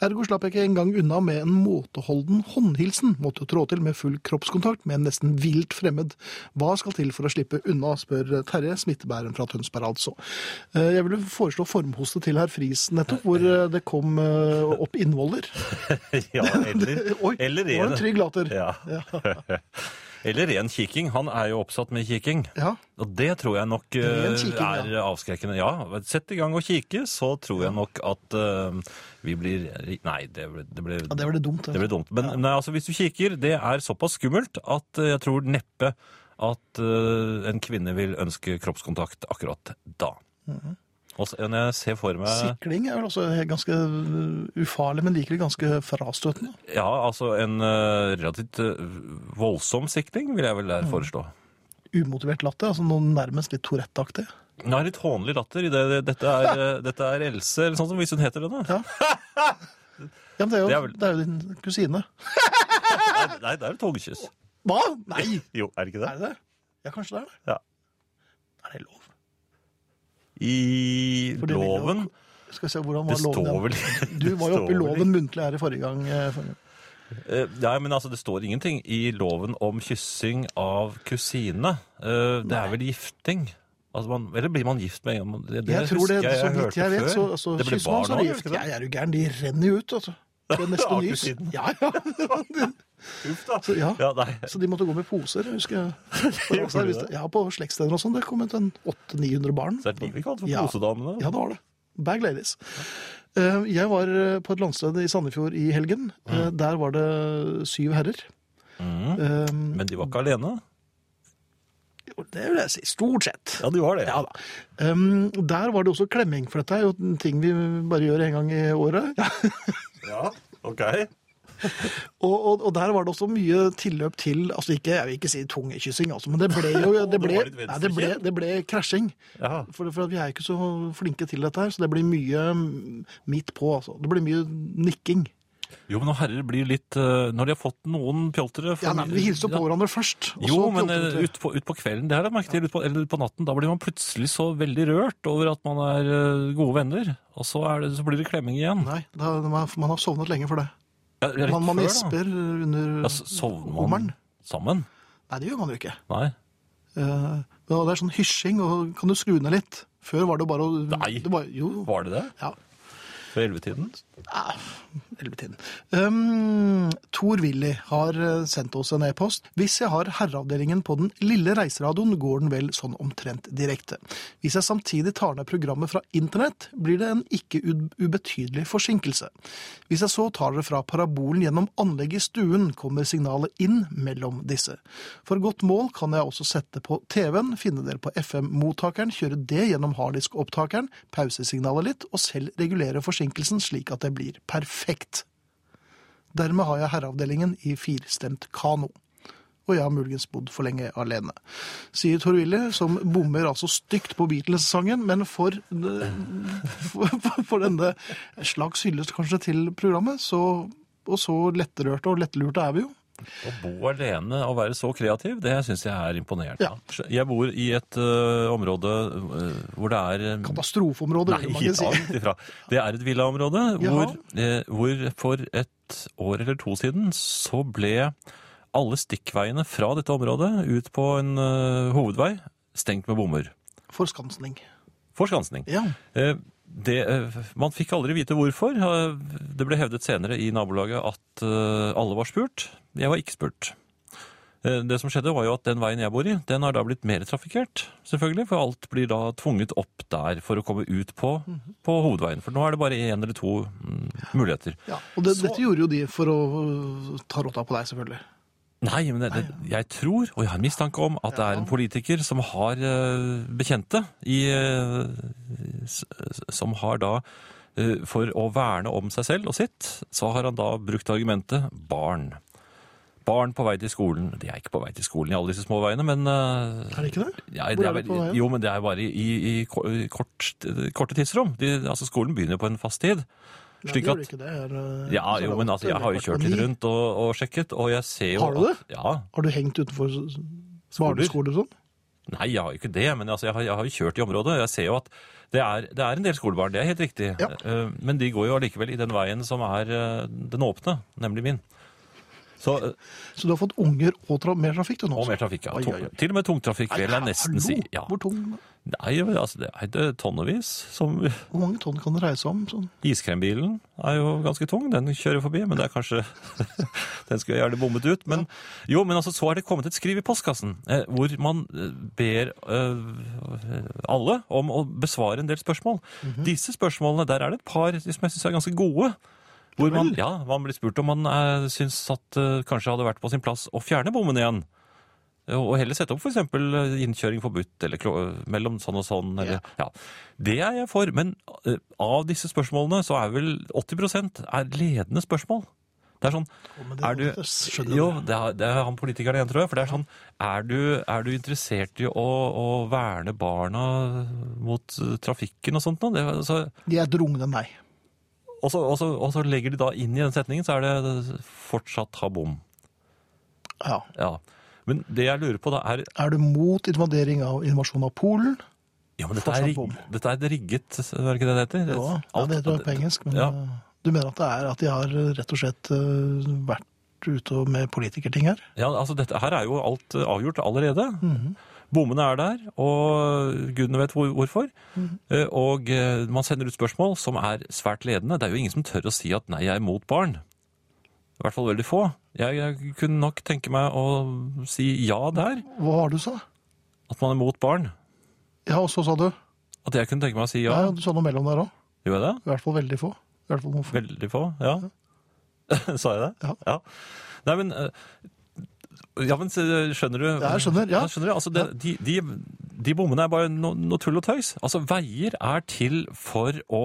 [SPEAKER 4] Ergo slapp jeg ikke engang unna med en måteholden håndhilsen. Måtte trå til med full kroppskontakt med en nesten vilt fremmed. Hva skal til for å slippe unna, spør Terje, smittebæreren fra Tønsberg altså. Eh, Jeg ville foreslå formhoste til herr Friis nettopp, hvor eh, det kom eh, opp innvoller. Eh,
[SPEAKER 5] Ja, eller,
[SPEAKER 4] Oi,
[SPEAKER 5] eller
[SPEAKER 4] det var en trygg later.
[SPEAKER 5] Ja. Eller ren kikking. Han er jo oppsatt med kikking.
[SPEAKER 4] Ja.
[SPEAKER 5] Og det tror jeg nok eh,
[SPEAKER 4] Ren kikking, ja.
[SPEAKER 5] er avskrekkende. Ja, sett i gang og kikke, så tror jeg nok at eh, vi blir Nei, det ble, det ble,
[SPEAKER 4] Ja, det var det dumt.
[SPEAKER 5] det ble dumt. Men nei, altså, hvis du kikker, det er såpass skummelt at eh, jeg tror neppe at eh, en kvinne vil ønske kroppskontakt akkurat da.
[SPEAKER 4] Mhm.
[SPEAKER 5] Og så- når jeg ser for meg
[SPEAKER 4] Sikling er vel også ganske øh, ufarlig, men likevel ganske frastøtende.
[SPEAKER 5] Ja, altså en eh, relativt eh, voldsom sikring vil jeg vel
[SPEAKER 4] Mhm.
[SPEAKER 5] der foreslå.
[SPEAKER 4] Umotivert latter, altså noe nærmest litt Tourette-aktig.
[SPEAKER 5] Hun har litt hånlig latter i det. det- Dette er, eh, dette er Else, eller sånn som hvis hun heter det, da.
[SPEAKER 4] Ja, men det er, jo, det,
[SPEAKER 5] Det er
[SPEAKER 4] er jo
[SPEAKER 5] vel-
[SPEAKER 4] din kusine.
[SPEAKER 5] Nei, det er et togkyss.
[SPEAKER 4] Hva? Nei!
[SPEAKER 5] Jo, er det ikke
[SPEAKER 4] Er det det? Ja, kanskje det er det.
[SPEAKER 5] Ja.
[SPEAKER 4] Er det lov?
[SPEAKER 5] I
[SPEAKER 4] For det vil jo-
[SPEAKER 5] loven
[SPEAKER 4] Skal vi se hvordan var
[SPEAKER 5] Det
[SPEAKER 4] loven
[SPEAKER 5] står vel
[SPEAKER 4] igjen? Du var jo oppe i loven muntlig her i forrige gang. eh, forrige gang.
[SPEAKER 5] Eh, Nei, men altså, det står ingenting i loven om kyssing av kusine. Eh, Det er vel gifting? Altså man, eller blir man gift med en gang? Det,
[SPEAKER 4] Jeg tror det,
[SPEAKER 5] husker
[SPEAKER 4] så vidt
[SPEAKER 5] hørte
[SPEAKER 4] jeg vet, så,
[SPEAKER 5] før.
[SPEAKER 4] så
[SPEAKER 5] det ble
[SPEAKER 4] kysser man
[SPEAKER 5] barn
[SPEAKER 4] så
[SPEAKER 5] nå,
[SPEAKER 4] er de
[SPEAKER 5] gjør det
[SPEAKER 4] gift.
[SPEAKER 5] ikke
[SPEAKER 4] Ja,
[SPEAKER 5] det?
[SPEAKER 4] jeg er jo gæren, de renner jo ut, altså. Det er neste
[SPEAKER 5] Ja,
[SPEAKER 4] nys.
[SPEAKER 5] kusinen.
[SPEAKER 4] Ja, ja.
[SPEAKER 5] Uff da.
[SPEAKER 4] Så, ja.
[SPEAKER 5] Ja, nei.
[SPEAKER 4] Så de måtte gå med poser, husker jeg.
[SPEAKER 5] Gjorde
[SPEAKER 4] Altså,
[SPEAKER 5] de
[SPEAKER 4] hvis det- ja, på slektssteder og sånn. Det kom ut en 800-900 barn.
[SPEAKER 5] Så er det de vi kaller for
[SPEAKER 4] Ja.
[SPEAKER 5] posedamene.
[SPEAKER 4] Ja, det var det. Bag ladies. Eh, Jeg var eh, på et landsted i Sandefjord i helgen. Eh,
[SPEAKER 5] Mm.
[SPEAKER 4] Der var det syv herrer. Eh,
[SPEAKER 5] Men de var ikke alene.
[SPEAKER 4] jo, Det vil jeg si. Stort sett.
[SPEAKER 5] Ja, de var det.
[SPEAKER 4] Ja da. Um, der var det også klemming, for dette er jo en ting vi bare gjør en gang i året.
[SPEAKER 5] Ja, ok.
[SPEAKER 4] Og, og, og der var det også mye tilløp til altså ikke, Jeg vil ikke si tungekyssing, altså, men det ble jo det
[SPEAKER 5] Det
[SPEAKER 4] ble,
[SPEAKER 5] var litt
[SPEAKER 4] nei, det ble, det ble krasjing.
[SPEAKER 5] Ja.
[SPEAKER 4] For, for at vi er ikke så flinke til dette her, så det blir mye mm, midt på. Altså. Det blir mye nikking.
[SPEAKER 5] Jo, men når herrer blir litt eh, Når de har fått noen pjoltere for
[SPEAKER 4] Ja, nei, men Vi hilser jo på
[SPEAKER 5] Ja.
[SPEAKER 4] hverandre først. og
[SPEAKER 5] Jo,
[SPEAKER 4] så
[SPEAKER 5] men
[SPEAKER 4] prater vi
[SPEAKER 5] eh,
[SPEAKER 4] til-
[SPEAKER 5] ut på, ut på kvelden, det har jeg merket til, ut på, eller ut på natten, da blir man plutselig så veldig rørt over at man er eh, gode venner, og så, er det, så blir det klemming igjen.
[SPEAKER 4] Nei, da, man, man har sovnet lenge for det.
[SPEAKER 5] Ja, rett
[SPEAKER 4] Man, man
[SPEAKER 5] før, da. Altså-
[SPEAKER 4] gjesper under
[SPEAKER 5] Ja, så sovner man
[SPEAKER 4] hummeren.
[SPEAKER 5] sammen?
[SPEAKER 4] Nei, det gjør man jo ikke.
[SPEAKER 5] Nei.
[SPEAKER 4] Eh, og det er sånn hysjing, og kan du skru ned litt? Før var det bare å
[SPEAKER 5] Nei.
[SPEAKER 4] Det var, jo.
[SPEAKER 5] Var det det?
[SPEAKER 4] Ja, Ah,
[SPEAKER 5] Før ellevetiden?
[SPEAKER 4] elvetiden. Um, Tor Willy har eh, sendt oss en e-post. Hvis jeg har herreavdelingen på den lille reiseradioen, går den vel sånn omtrent direkte. Hvis jeg samtidig tar ned programmet fra internett, blir det en ikke u- ubetydelig forsinkelse. Hvis jeg så tar det fra parabolen gjennom anlegget i stuen, kommer signalet inn mellom disse. For godt mål kan jeg også sette på TV-en, finne dere på FM-mottakeren, kjøre det gjennom harddisk-opptakeren, pausesignalet litt, og selv regulere forsinkelsen slik at det blir perfekt. Dermed har jeg herreavdelingen i firstemt kano. Og jeg har muligens bodd for lenge alene. Sier Tor Willy, som bommer altså stygt på Beatles-sangen, men for, for, for denne slags hyllest kanskje til programmet, så, og så lettrørte og lettlurte er vi jo.
[SPEAKER 5] Å bo alene og være så kreativ, det syns jeg er imponerende.
[SPEAKER 4] Ja.
[SPEAKER 5] Jeg bor i et ø, område ø, hvor det er eh, ø,
[SPEAKER 4] Katastrofeområder,
[SPEAKER 5] Nei,
[SPEAKER 4] vil man
[SPEAKER 5] ja,
[SPEAKER 4] ikke si.
[SPEAKER 5] langt ifra. Det er et villaområde hvor,
[SPEAKER 4] Jaha.
[SPEAKER 5] eh, hvor for et år eller to siden så ble alle stikkveiene fra dette området ut på en ø, hovedvei stengt med bommer.
[SPEAKER 4] Forskansning.
[SPEAKER 5] For skansning.
[SPEAKER 4] Ja.
[SPEAKER 5] Eh, det, eh, man fikk aldri vite hvorfor. Eh, Det ble hevdet senere i nabolaget at eh, alle var spurt. Jeg var ikke spurt. Eh, Det som skjedde var jo at Den veien jeg bor i, den har da blitt mer trafikkert, selvfølgelig, for alt blir da tvunget opp der for å komme ut på, på hovedveien. For nå er det bare én eller to mm, muligheter.
[SPEAKER 4] Ja, og det, dette gjorde jo de for å øh, ta rotta på deg, selvfølgelig.
[SPEAKER 5] Nei, men det, det, jeg tror, og jeg har en mistanke om, at det er en politiker som har eh, bekjente i eh, s- s- Som har da eh, For å verne om seg selv og sitt, så har han da brukt argumentet barn. Barn på vei til skolen. De er ikke på vei til skolen i alle disse små veiene, men eh,
[SPEAKER 4] Er det ikke det?
[SPEAKER 5] ja,
[SPEAKER 4] Hvor
[SPEAKER 5] det
[SPEAKER 4] er
[SPEAKER 5] er,
[SPEAKER 4] det
[SPEAKER 5] vel-
[SPEAKER 4] på veien?
[SPEAKER 5] Jo, men det er bare i, i ko- kort, korte tidsrom. De, altså, skolen begynner jo på en fast tid.
[SPEAKER 4] Nei,
[SPEAKER 5] Slik
[SPEAKER 4] det gjør
[SPEAKER 5] at-
[SPEAKER 4] det ikke. Det er, øh,
[SPEAKER 5] Ja,
[SPEAKER 4] så er
[SPEAKER 5] jo,
[SPEAKER 4] det
[SPEAKER 5] men
[SPEAKER 4] åtte
[SPEAKER 5] altså, jeg
[SPEAKER 4] eller
[SPEAKER 5] har jo
[SPEAKER 4] kvart på
[SPEAKER 5] kjørt litt
[SPEAKER 4] ni.
[SPEAKER 5] rundt og, og sjekket, og jeg ser jo
[SPEAKER 4] Har du
[SPEAKER 5] at- Ja.
[SPEAKER 4] Har du hengt utenfor s- barneskoler og sånn?
[SPEAKER 5] Nei, jeg har jo ikke det, men altså, jeg, har, jeg har jo kjørt i området. og Jeg ser jo at det er, det er en del skolebarn, det er helt riktig.
[SPEAKER 4] Ja.
[SPEAKER 5] Eh, Men de går jo allikevel i den veien som er eh, den åpne, nemlig min. Så, eh,
[SPEAKER 4] Så du har fått unger og tra mer trafikk til nå?
[SPEAKER 5] og mer
[SPEAKER 4] altså?
[SPEAKER 5] trafikk, ja.
[SPEAKER 4] Oi,
[SPEAKER 5] Tung-
[SPEAKER 4] oi, oi.
[SPEAKER 5] Til og med tungtrafikk, vil jeg
[SPEAKER 4] Nei,
[SPEAKER 5] nesten si.
[SPEAKER 4] hallo,
[SPEAKER 5] Ja.
[SPEAKER 4] Hvor, tung,
[SPEAKER 5] Nei, men altså, det er det tonnevis. Som
[SPEAKER 4] hvor mange tonn kan det reise om? Sånn?
[SPEAKER 5] iskrembilen er jo ganske tung, den kjører forbi, men det er kanskje Den skulle jeg gjerne bommet ut. Men jo, men altså, så er det kommet et skriv i postkassen eh, hvor man eh, ber eh, alle om å besvare en del spørsmål. Disse spørsmålene, der er det et par som jeg syns er ganske gode. Hvor man, ja, man blir spurt om man eh, syns at eh, kanskje hadde vært på sin plass å fjerne bommen igjen. Og heller sette opp f.eks. innkjøring forbudt eller klo- mellom sånn og sånn. Eller, ja. Det er jeg for, men eh, av disse spørsmålene så er vel 80 er ledende spørsmål. Det er sånn
[SPEAKER 4] men det-
[SPEAKER 5] er du,
[SPEAKER 4] det skjønner
[SPEAKER 5] Jo,
[SPEAKER 4] jeg.
[SPEAKER 5] det er, det er han politikeren igjen, tror jeg. For det er sånn Er du, er du interessert i å, å verne barna mot eh, trafikken og sånt noe? Det, er altså,
[SPEAKER 4] De er drungne nei.
[SPEAKER 5] og, så, og, så, og så legger de da inn i den setningen, så er det fortsatt ha bom.
[SPEAKER 4] Ja.
[SPEAKER 5] Ja. Men det jeg lurer på, da, er
[SPEAKER 4] Er du mot invadering av invasjon av Polen?
[SPEAKER 5] Ja, men dette
[SPEAKER 4] Fortsatt
[SPEAKER 5] er, rig-
[SPEAKER 4] bom.
[SPEAKER 5] dette er rigget, er det ikke det det heter?
[SPEAKER 4] Ja, ja,
[SPEAKER 5] Alt-
[SPEAKER 4] det tror jeg på engelsk. Men
[SPEAKER 5] Ja.
[SPEAKER 4] øh, du mener at det er at de har øh, rett og slett øh, vært ute og- med politikerting her?
[SPEAKER 5] Ja, altså dette her er jo alt eh, avgjort allerede.
[SPEAKER 4] Mhm.
[SPEAKER 5] Bommene er der, og gudene vet hvor, hvorfor.
[SPEAKER 4] Mhm.
[SPEAKER 5] Eh, Og eh, man sender ut spørsmål som er svært ledende. Det er jo ingen som tør å si at nei, jeg er mot barn. I hvert fall veldig få. Jeg, jeg kunne nok tenke meg å si ja der,
[SPEAKER 4] Hva var det du sa?
[SPEAKER 5] at man er mot barn.
[SPEAKER 4] Ja, og så sa du?
[SPEAKER 5] At jeg kunne tenke meg å si
[SPEAKER 4] Ja,
[SPEAKER 5] ja.
[SPEAKER 4] du sa noe mellom der òg.
[SPEAKER 5] Gjorde jeg det?
[SPEAKER 4] I hvert fall veldig få. I hvert fall noen få.
[SPEAKER 5] Veldig få, ja. Sa jeg det?
[SPEAKER 4] Ja.
[SPEAKER 5] Nei, men eh, Ja, men eh, skjønner du?
[SPEAKER 4] Ja, jeg skjønner, ja.
[SPEAKER 5] skjønner du? Altså, det, de, de, de bommene er bare no, noe tull og tøys. Altså, veier er til for å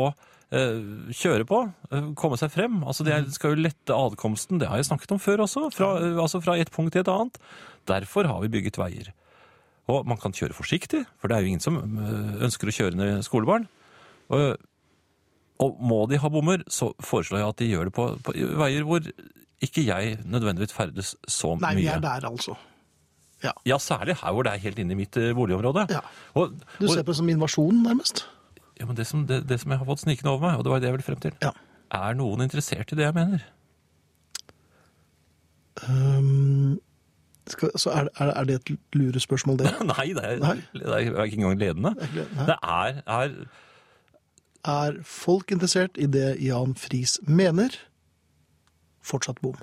[SPEAKER 5] eh, kjøre på, eh, komme seg frem. Altså, det er-
[SPEAKER 4] Mm.
[SPEAKER 5] skal jo lette adkomsten, det har jeg snakket om før også, fra, eh, altså fra et punkt til et annet. Derfor har vi bygget veier. Og man kan kjøre forsiktig, for det er jo ingen som øh, ønsker å kjøre ned skolebarn. Og, og må de ha bommer, så foreslår jeg at de gjør det på, på veier hvor ikke jeg nødvendigvis ferdes så
[SPEAKER 4] Nei, vi
[SPEAKER 5] mye.
[SPEAKER 4] er der, altså.
[SPEAKER 5] Ja, særlig her hvor det er helt inne i mitt eh, boligområde.
[SPEAKER 4] Ja.
[SPEAKER 5] Og,
[SPEAKER 4] Du
[SPEAKER 5] og,
[SPEAKER 4] ser på det som invasjon, nærmest.
[SPEAKER 5] ja, men det, som, det, det som jeg har fått snikende over meg, og det var det jeg ville frem til,
[SPEAKER 4] Ja.
[SPEAKER 5] er noen interessert i det jeg mener?
[SPEAKER 4] Ehm, skal, så er, er, er det et lurespørsmål, det?
[SPEAKER 5] Nei, det er,
[SPEAKER 4] Nei.
[SPEAKER 5] det er ikke engang ledende.
[SPEAKER 4] Det er ikke- nei.
[SPEAKER 5] Det er, er
[SPEAKER 4] Er folk interessert i det Jan Friis mener? Fortsatt bom.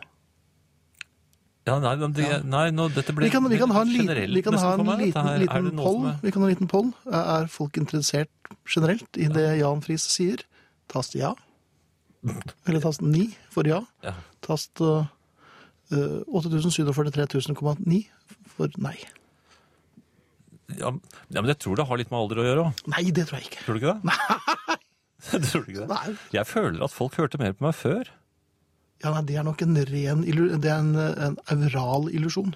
[SPEAKER 5] ja, nei, men det, nei nå, dette ble
[SPEAKER 4] Vi kan, vi kan ha en liten,
[SPEAKER 5] generelt
[SPEAKER 4] vi kan
[SPEAKER 5] nesten
[SPEAKER 4] ha
[SPEAKER 5] for
[SPEAKER 4] en
[SPEAKER 5] meg, dette
[SPEAKER 4] liten,
[SPEAKER 5] her. Er
[SPEAKER 4] liten
[SPEAKER 5] det noe som
[SPEAKER 4] poll.
[SPEAKER 5] er-
[SPEAKER 4] Vi kan ha en liten poll. Er folk interessert generelt i det Jan Friis sier? Tast ja. Eller tast ni for ja.
[SPEAKER 5] Ja.
[SPEAKER 4] Tast eh, uh, 8743.000,9 for nei.
[SPEAKER 5] Ja, men- ja, men jeg tror det har litt med alder å gjøre òg.
[SPEAKER 4] Nei, det tror jeg ikke.
[SPEAKER 5] Tror du ikke det? Nei! tror du ikke det?
[SPEAKER 4] Nei.
[SPEAKER 5] Jeg føler at folk hørte mer på meg før.
[SPEAKER 4] Ja, nei, Det er nok en ren illu- Det er en, en aural illusjon.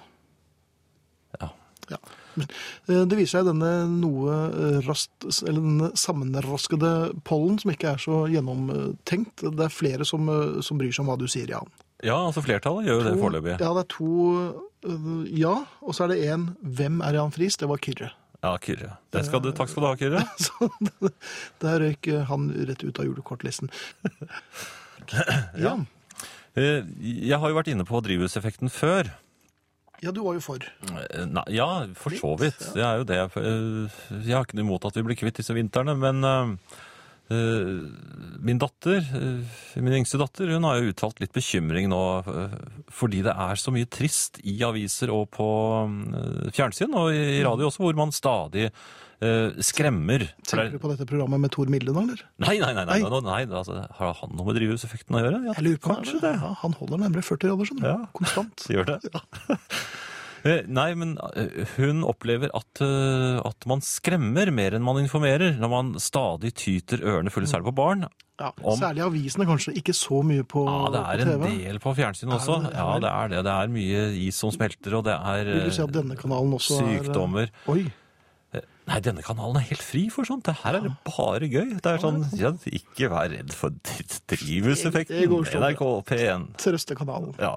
[SPEAKER 5] Ja.
[SPEAKER 4] Ja. Men, eh, Det viser seg denne noe eh, rast, eller denne sammenraskede pollen som ikke er så gjennomtenkt. Det er flere som, eh, som bryr seg om hva du sier, Jan.
[SPEAKER 5] ja, altså flertallet gjør jo det foreløpig.
[SPEAKER 4] Ja, det er to eh, ja, og så er det én hvem er Jan Friis? Det var Kyrre.
[SPEAKER 5] Ja, Kyrre. Det skal du, takk skal du ha, Kyrre.
[SPEAKER 4] Så der røyk eh, han rett ut av julekortlisten. Ja.
[SPEAKER 5] Eh, Jeg har jo vært inne på drivhuseffekten før.
[SPEAKER 4] ja, du var jo for.
[SPEAKER 5] Eh, Nei, ja, for så vidt. Det er jo det. Eh, Jeg har ikke noe imot at vi blir kvitt disse vintrene, men eh, Eh, Min datter, eh, min yngste datter, hun har jo uttalt litt bekymring nå eh, fordi det er så mye trist i aviser og på eh, fjernsyn og i i radio også, hvor man stadig eh, skremmer. For det
[SPEAKER 4] Tenker
[SPEAKER 5] er-
[SPEAKER 4] du på dette programmet med Tor Milden, eller?
[SPEAKER 5] Nei, nei, nei, nei,
[SPEAKER 4] Nei.
[SPEAKER 5] nei, nei, altså, har han noe med drivhuseffekten å gjøre? Ja,
[SPEAKER 4] Jeg lurer på
[SPEAKER 5] kanskje det.
[SPEAKER 4] Ja, han holder nærmere 40 grader, skjønner du.
[SPEAKER 5] Ja.
[SPEAKER 4] Konstant.
[SPEAKER 5] Så gjør det. Eh, Nei, men eh, hun opplever at, eh, at man skremmer mer enn man informerer, når man stadig tyter ørene fulle, særlig på barn.
[SPEAKER 4] Ja,
[SPEAKER 5] Om-
[SPEAKER 4] særlig avisene kanskje, ikke så mye på,
[SPEAKER 5] Ja, det er
[SPEAKER 4] på
[SPEAKER 5] en
[SPEAKER 4] TV.
[SPEAKER 5] del på fjernsyn
[SPEAKER 4] det
[SPEAKER 5] også.
[SPEAKER 4] det? Ja
[SPEAKER 5] Ja,
[SPEAKER 4] vel.
[SPEAKER 5] det er det. Det er mye is som smelter, og det er
[SPEAKER 4] Vil du si at
[SPEAKER 5] eh,
[SPEAKER 4] denne kanalen også
[SPEAKER 5] sykdommer.
[SPEAKER 4] er Oi,
[SPEAKER 5] Nei, denne kanalen er helt fri for sånt. Det her er det bare gøy. Det er sånn, ja, ikke vær redd for
[SPEAKER 4] Det
[SPEAKER 5] drivhuseffekten.
[SPEAKER 4] går sånn.
[SPEAKER 5] NRK P1.
[SPEAKER 4] Trøstekanalen.
[SPEAKER 5] Ja.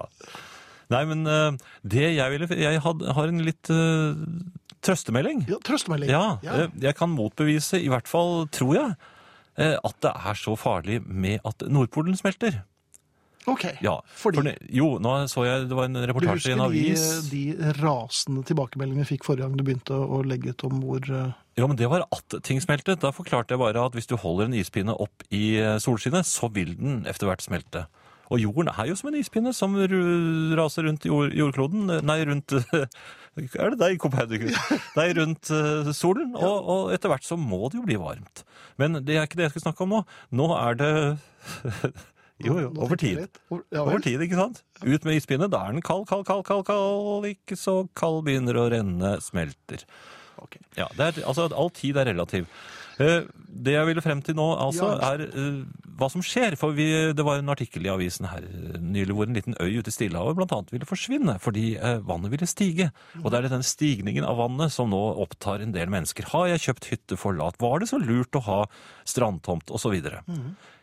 [SPEAKER 5] Nei, men eh, det jeg ville Jeg had, har en litt eh, trøstemelding.
[SPEAKER 4] Ja, trøstemelding.
[SPEAKER 5] Ja,
[SPEAKER 4] Ja.
[SPEAKER 5] eh, jeg kan motbevise, i hvert fall tror jeg, eh, at det er så farlig med at Nordpolen smelter.
[SPEAKER 4] Ok.
[SPEAKER 5] Ja,
[SPEAKER 4] Fordi-
[SPEAKER 5] for det- jo, nå så jeg det var en
[SPEAKER 4] Du husker
[SPEAKER 5] reportasje i en
[SPEAKER 4] de,
[SPEAKER 5] avis.
[SPEAKER 4] de rasende tilbakemeldingene vi fikk forrige gang du begynte å legge ut om hvor eh,
[SPEAKER 5] Ja, men det var at ting smeltet. Da forklarte jeg bare at hvis du holder en ispinne opp i eh, solskinnet, så vil den etter hvert smelte. Og jorden er jo som en ispinne som ru- raser rundt jord, jordkloden. eh, Nei, rundt eh, Er det deg, Copernicus? Nei, rundt eh, solen. Og, og etter hvert så må det jo bli varmt. Men det er ikke det jeg skal snakke om nå. Nå er det Jo, jo.
[SPEAKER 4] nå
[SPEAKER 5] Over
[SPEAKER 4] tenkte jeg
[SPEAKER 5] tid.
[SPEAKER 4] litt. Over, ja,
[SPEAKER 5] Over
[SPEAKER 4] vel.
[SPEAKER 5] tid, ikke sant? Ut med ispinnet. Da er den kald, kald, kald, kald, kald. Ikke så kald, begynner å renne, smelter.
[SPEAKER 4] Ok.
[SPEAKER 5] Ja, det er, altså at All tid er relativ. Eh, Det jeg ville frem til nå, altså,
[SPEAKER 4] Ja.
[SPEAKER 5] er eh, hva som skjer. For vi, det var en artikkel i avisen her eh, nylig hvor en liten øy ute i Stillehavet blant annet ville forsvinne fordi eh, vannet ville stige. Og det er den stigningen av vannet som nå opptar en del mennesker. Har jeg kjøpt hytte for lat? Var det så lurt å ha strandtomt? Og så videre.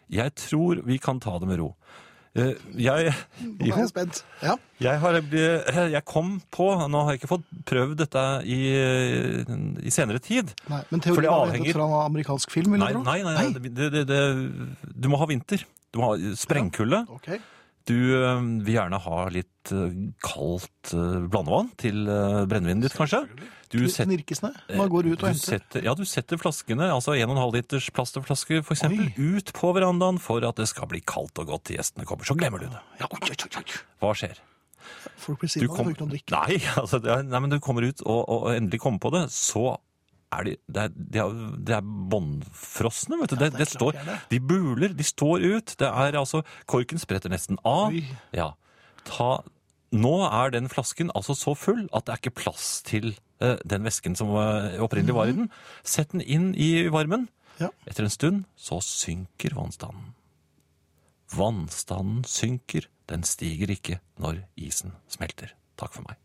[SPEAKER 5] Jeg tror vi kan ta det med ro. Eh, Jeg,
[SPEAKER 4] Nå er
[SPEAKER 5] jo,
[SPEAKER 4] jeg spent. Ja.
[SPEAKER 5] jeg, har, bli- jeg kom på Nå har jeg ikke fått prøvd dette i, i senere tid.
[SPEAKER 4] Nei, men
[SPEAKER 5] For
[SPEAKER 4] teorien
[SPEAKER 5] det
[SPEAKER 4] er
[SPEAKER 5] avhenger-
[SPEAKER 4] hentet fra en amerikansk film, vil
[SPEAKER 5] Nei,
[SPEAKER 4] du tro?
[SPEAKER 5] nei, nei, Det, det, det, du må ha vinter. Du må ha sprengkulde.
[SPEAKER 4] Ok.
[SPEAKER 5] Du eh, vil gjerne ha litt eh, kaldt eh, blandevann til eh, brennevinet ditt, kanskje. Du setter,
[SPEAKER 4] Knirkesnø. Man går ut og
[SPEAKER 5] du
[SPEAKER 4] henter.
[SPEAKER 5] setter, ja, du setter flaskene, altså 1,5 liters plastflasker for eksempel, ut på verandaen for at det skal bli kaldt og godt til gjestene kommer. Så glemmer du det.
[SPEAKER 4] Ja, oi, oi, oi, oi.
[SPEAKER 5] Hva skjer?
[SPEAKER 4] Folk blir
[SPEAKER 5] Du
[SPEAKER 4] sinna, de
[SPEAKER 5] kom-
[SPEAKER 4] får ikke noe å drikke.
[SPEAKER 5] Nei, altså, det er, nei, men du kommer ut og, og, og endelig kommer på det, så er de, det er, de er, de er båndfrosne, vet du. det,
[SPEAKER 4] det er
[SPEAKER 5] det,
[SPEAKER 4] klart
[SPEAKER 5] står,
[SPEAKER 4] de er det.
[SPEAKER 5] de buler, de står ut. Det er altså, korken spretter nesten av.
[SPEAKER 4] Oi.
[SPEAKER 5] Ja. Ta, nå er den flasken altså så full at det er ikke plass til eh, den væsken som eh, opprinnelig var i den. Sett den inn i varmen.
[SPEAKER 4] Mhm. Ja.
[SPEAKER 5] Etter en stund så synker vannstanden. Vannstanden synker, den stiger ikke når isen smelter. Takk for meg.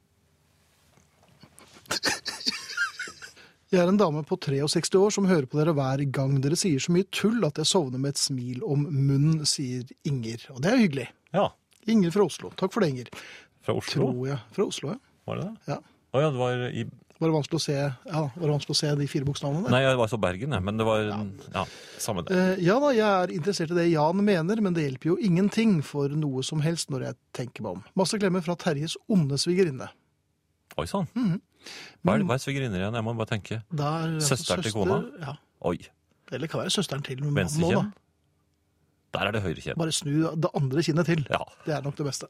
[SPEAKER 4] Jeg er en dame på 63 år som hører på dere hver gang dere sier så mye tull at jeg sovner med et smil om munnen, sier Inger. Og det er hyggelig.
[SPEAKER 5] Ja,
[SPEAKER 4] Inger fra Oslo. Takk for det, Inger.
[SPEAKER 5] fra Oslo,
[SPEAKER 4] Tror jeg. Fra Oslo, ja.
[SPEAKER 5] var det det?
[SPEAKER 4] ja.
[SPEAKER 5] Å ja, det var i
[SPEAKER 4] Var det vanskelig å se, ja, var det vanskelig å se de fire bokstavene der?
[SPEAKER 5] Nei, det var så Bergen, jeg, men det var Ja, samme det.
[SPEAKER 4] Eh, ja da, jeg er interessert i det Jan mener, men det hjelper jo ingenting for noe som helst når jeg tenker meg om. Masse klemmer fra Terjes onde svigerinne.
[SPEAKER 5] Eh, Oi sann. Hva er, hva er svigerinner igjen? Jeg må bare tenke.
[SPEAKER 4] Der, altså,
[SPEAKER 5] Søster til
[SPEAKER 4] søster-
[SPEAKER 5] kona?
[SPEAKER 4] Ja,
[SPEAKER 5] Oi.
[SPEAKER 4] eller kan være søsteren til mannen nå, da.
[SPEAKER 5] Venstrekinn? Der er det høyrekinn.
[SPEAKER 4] Bare snu det andre kinnet til.
[SPEAKER 5] Ja.
[SPEAKER 4] Det er nok det beste.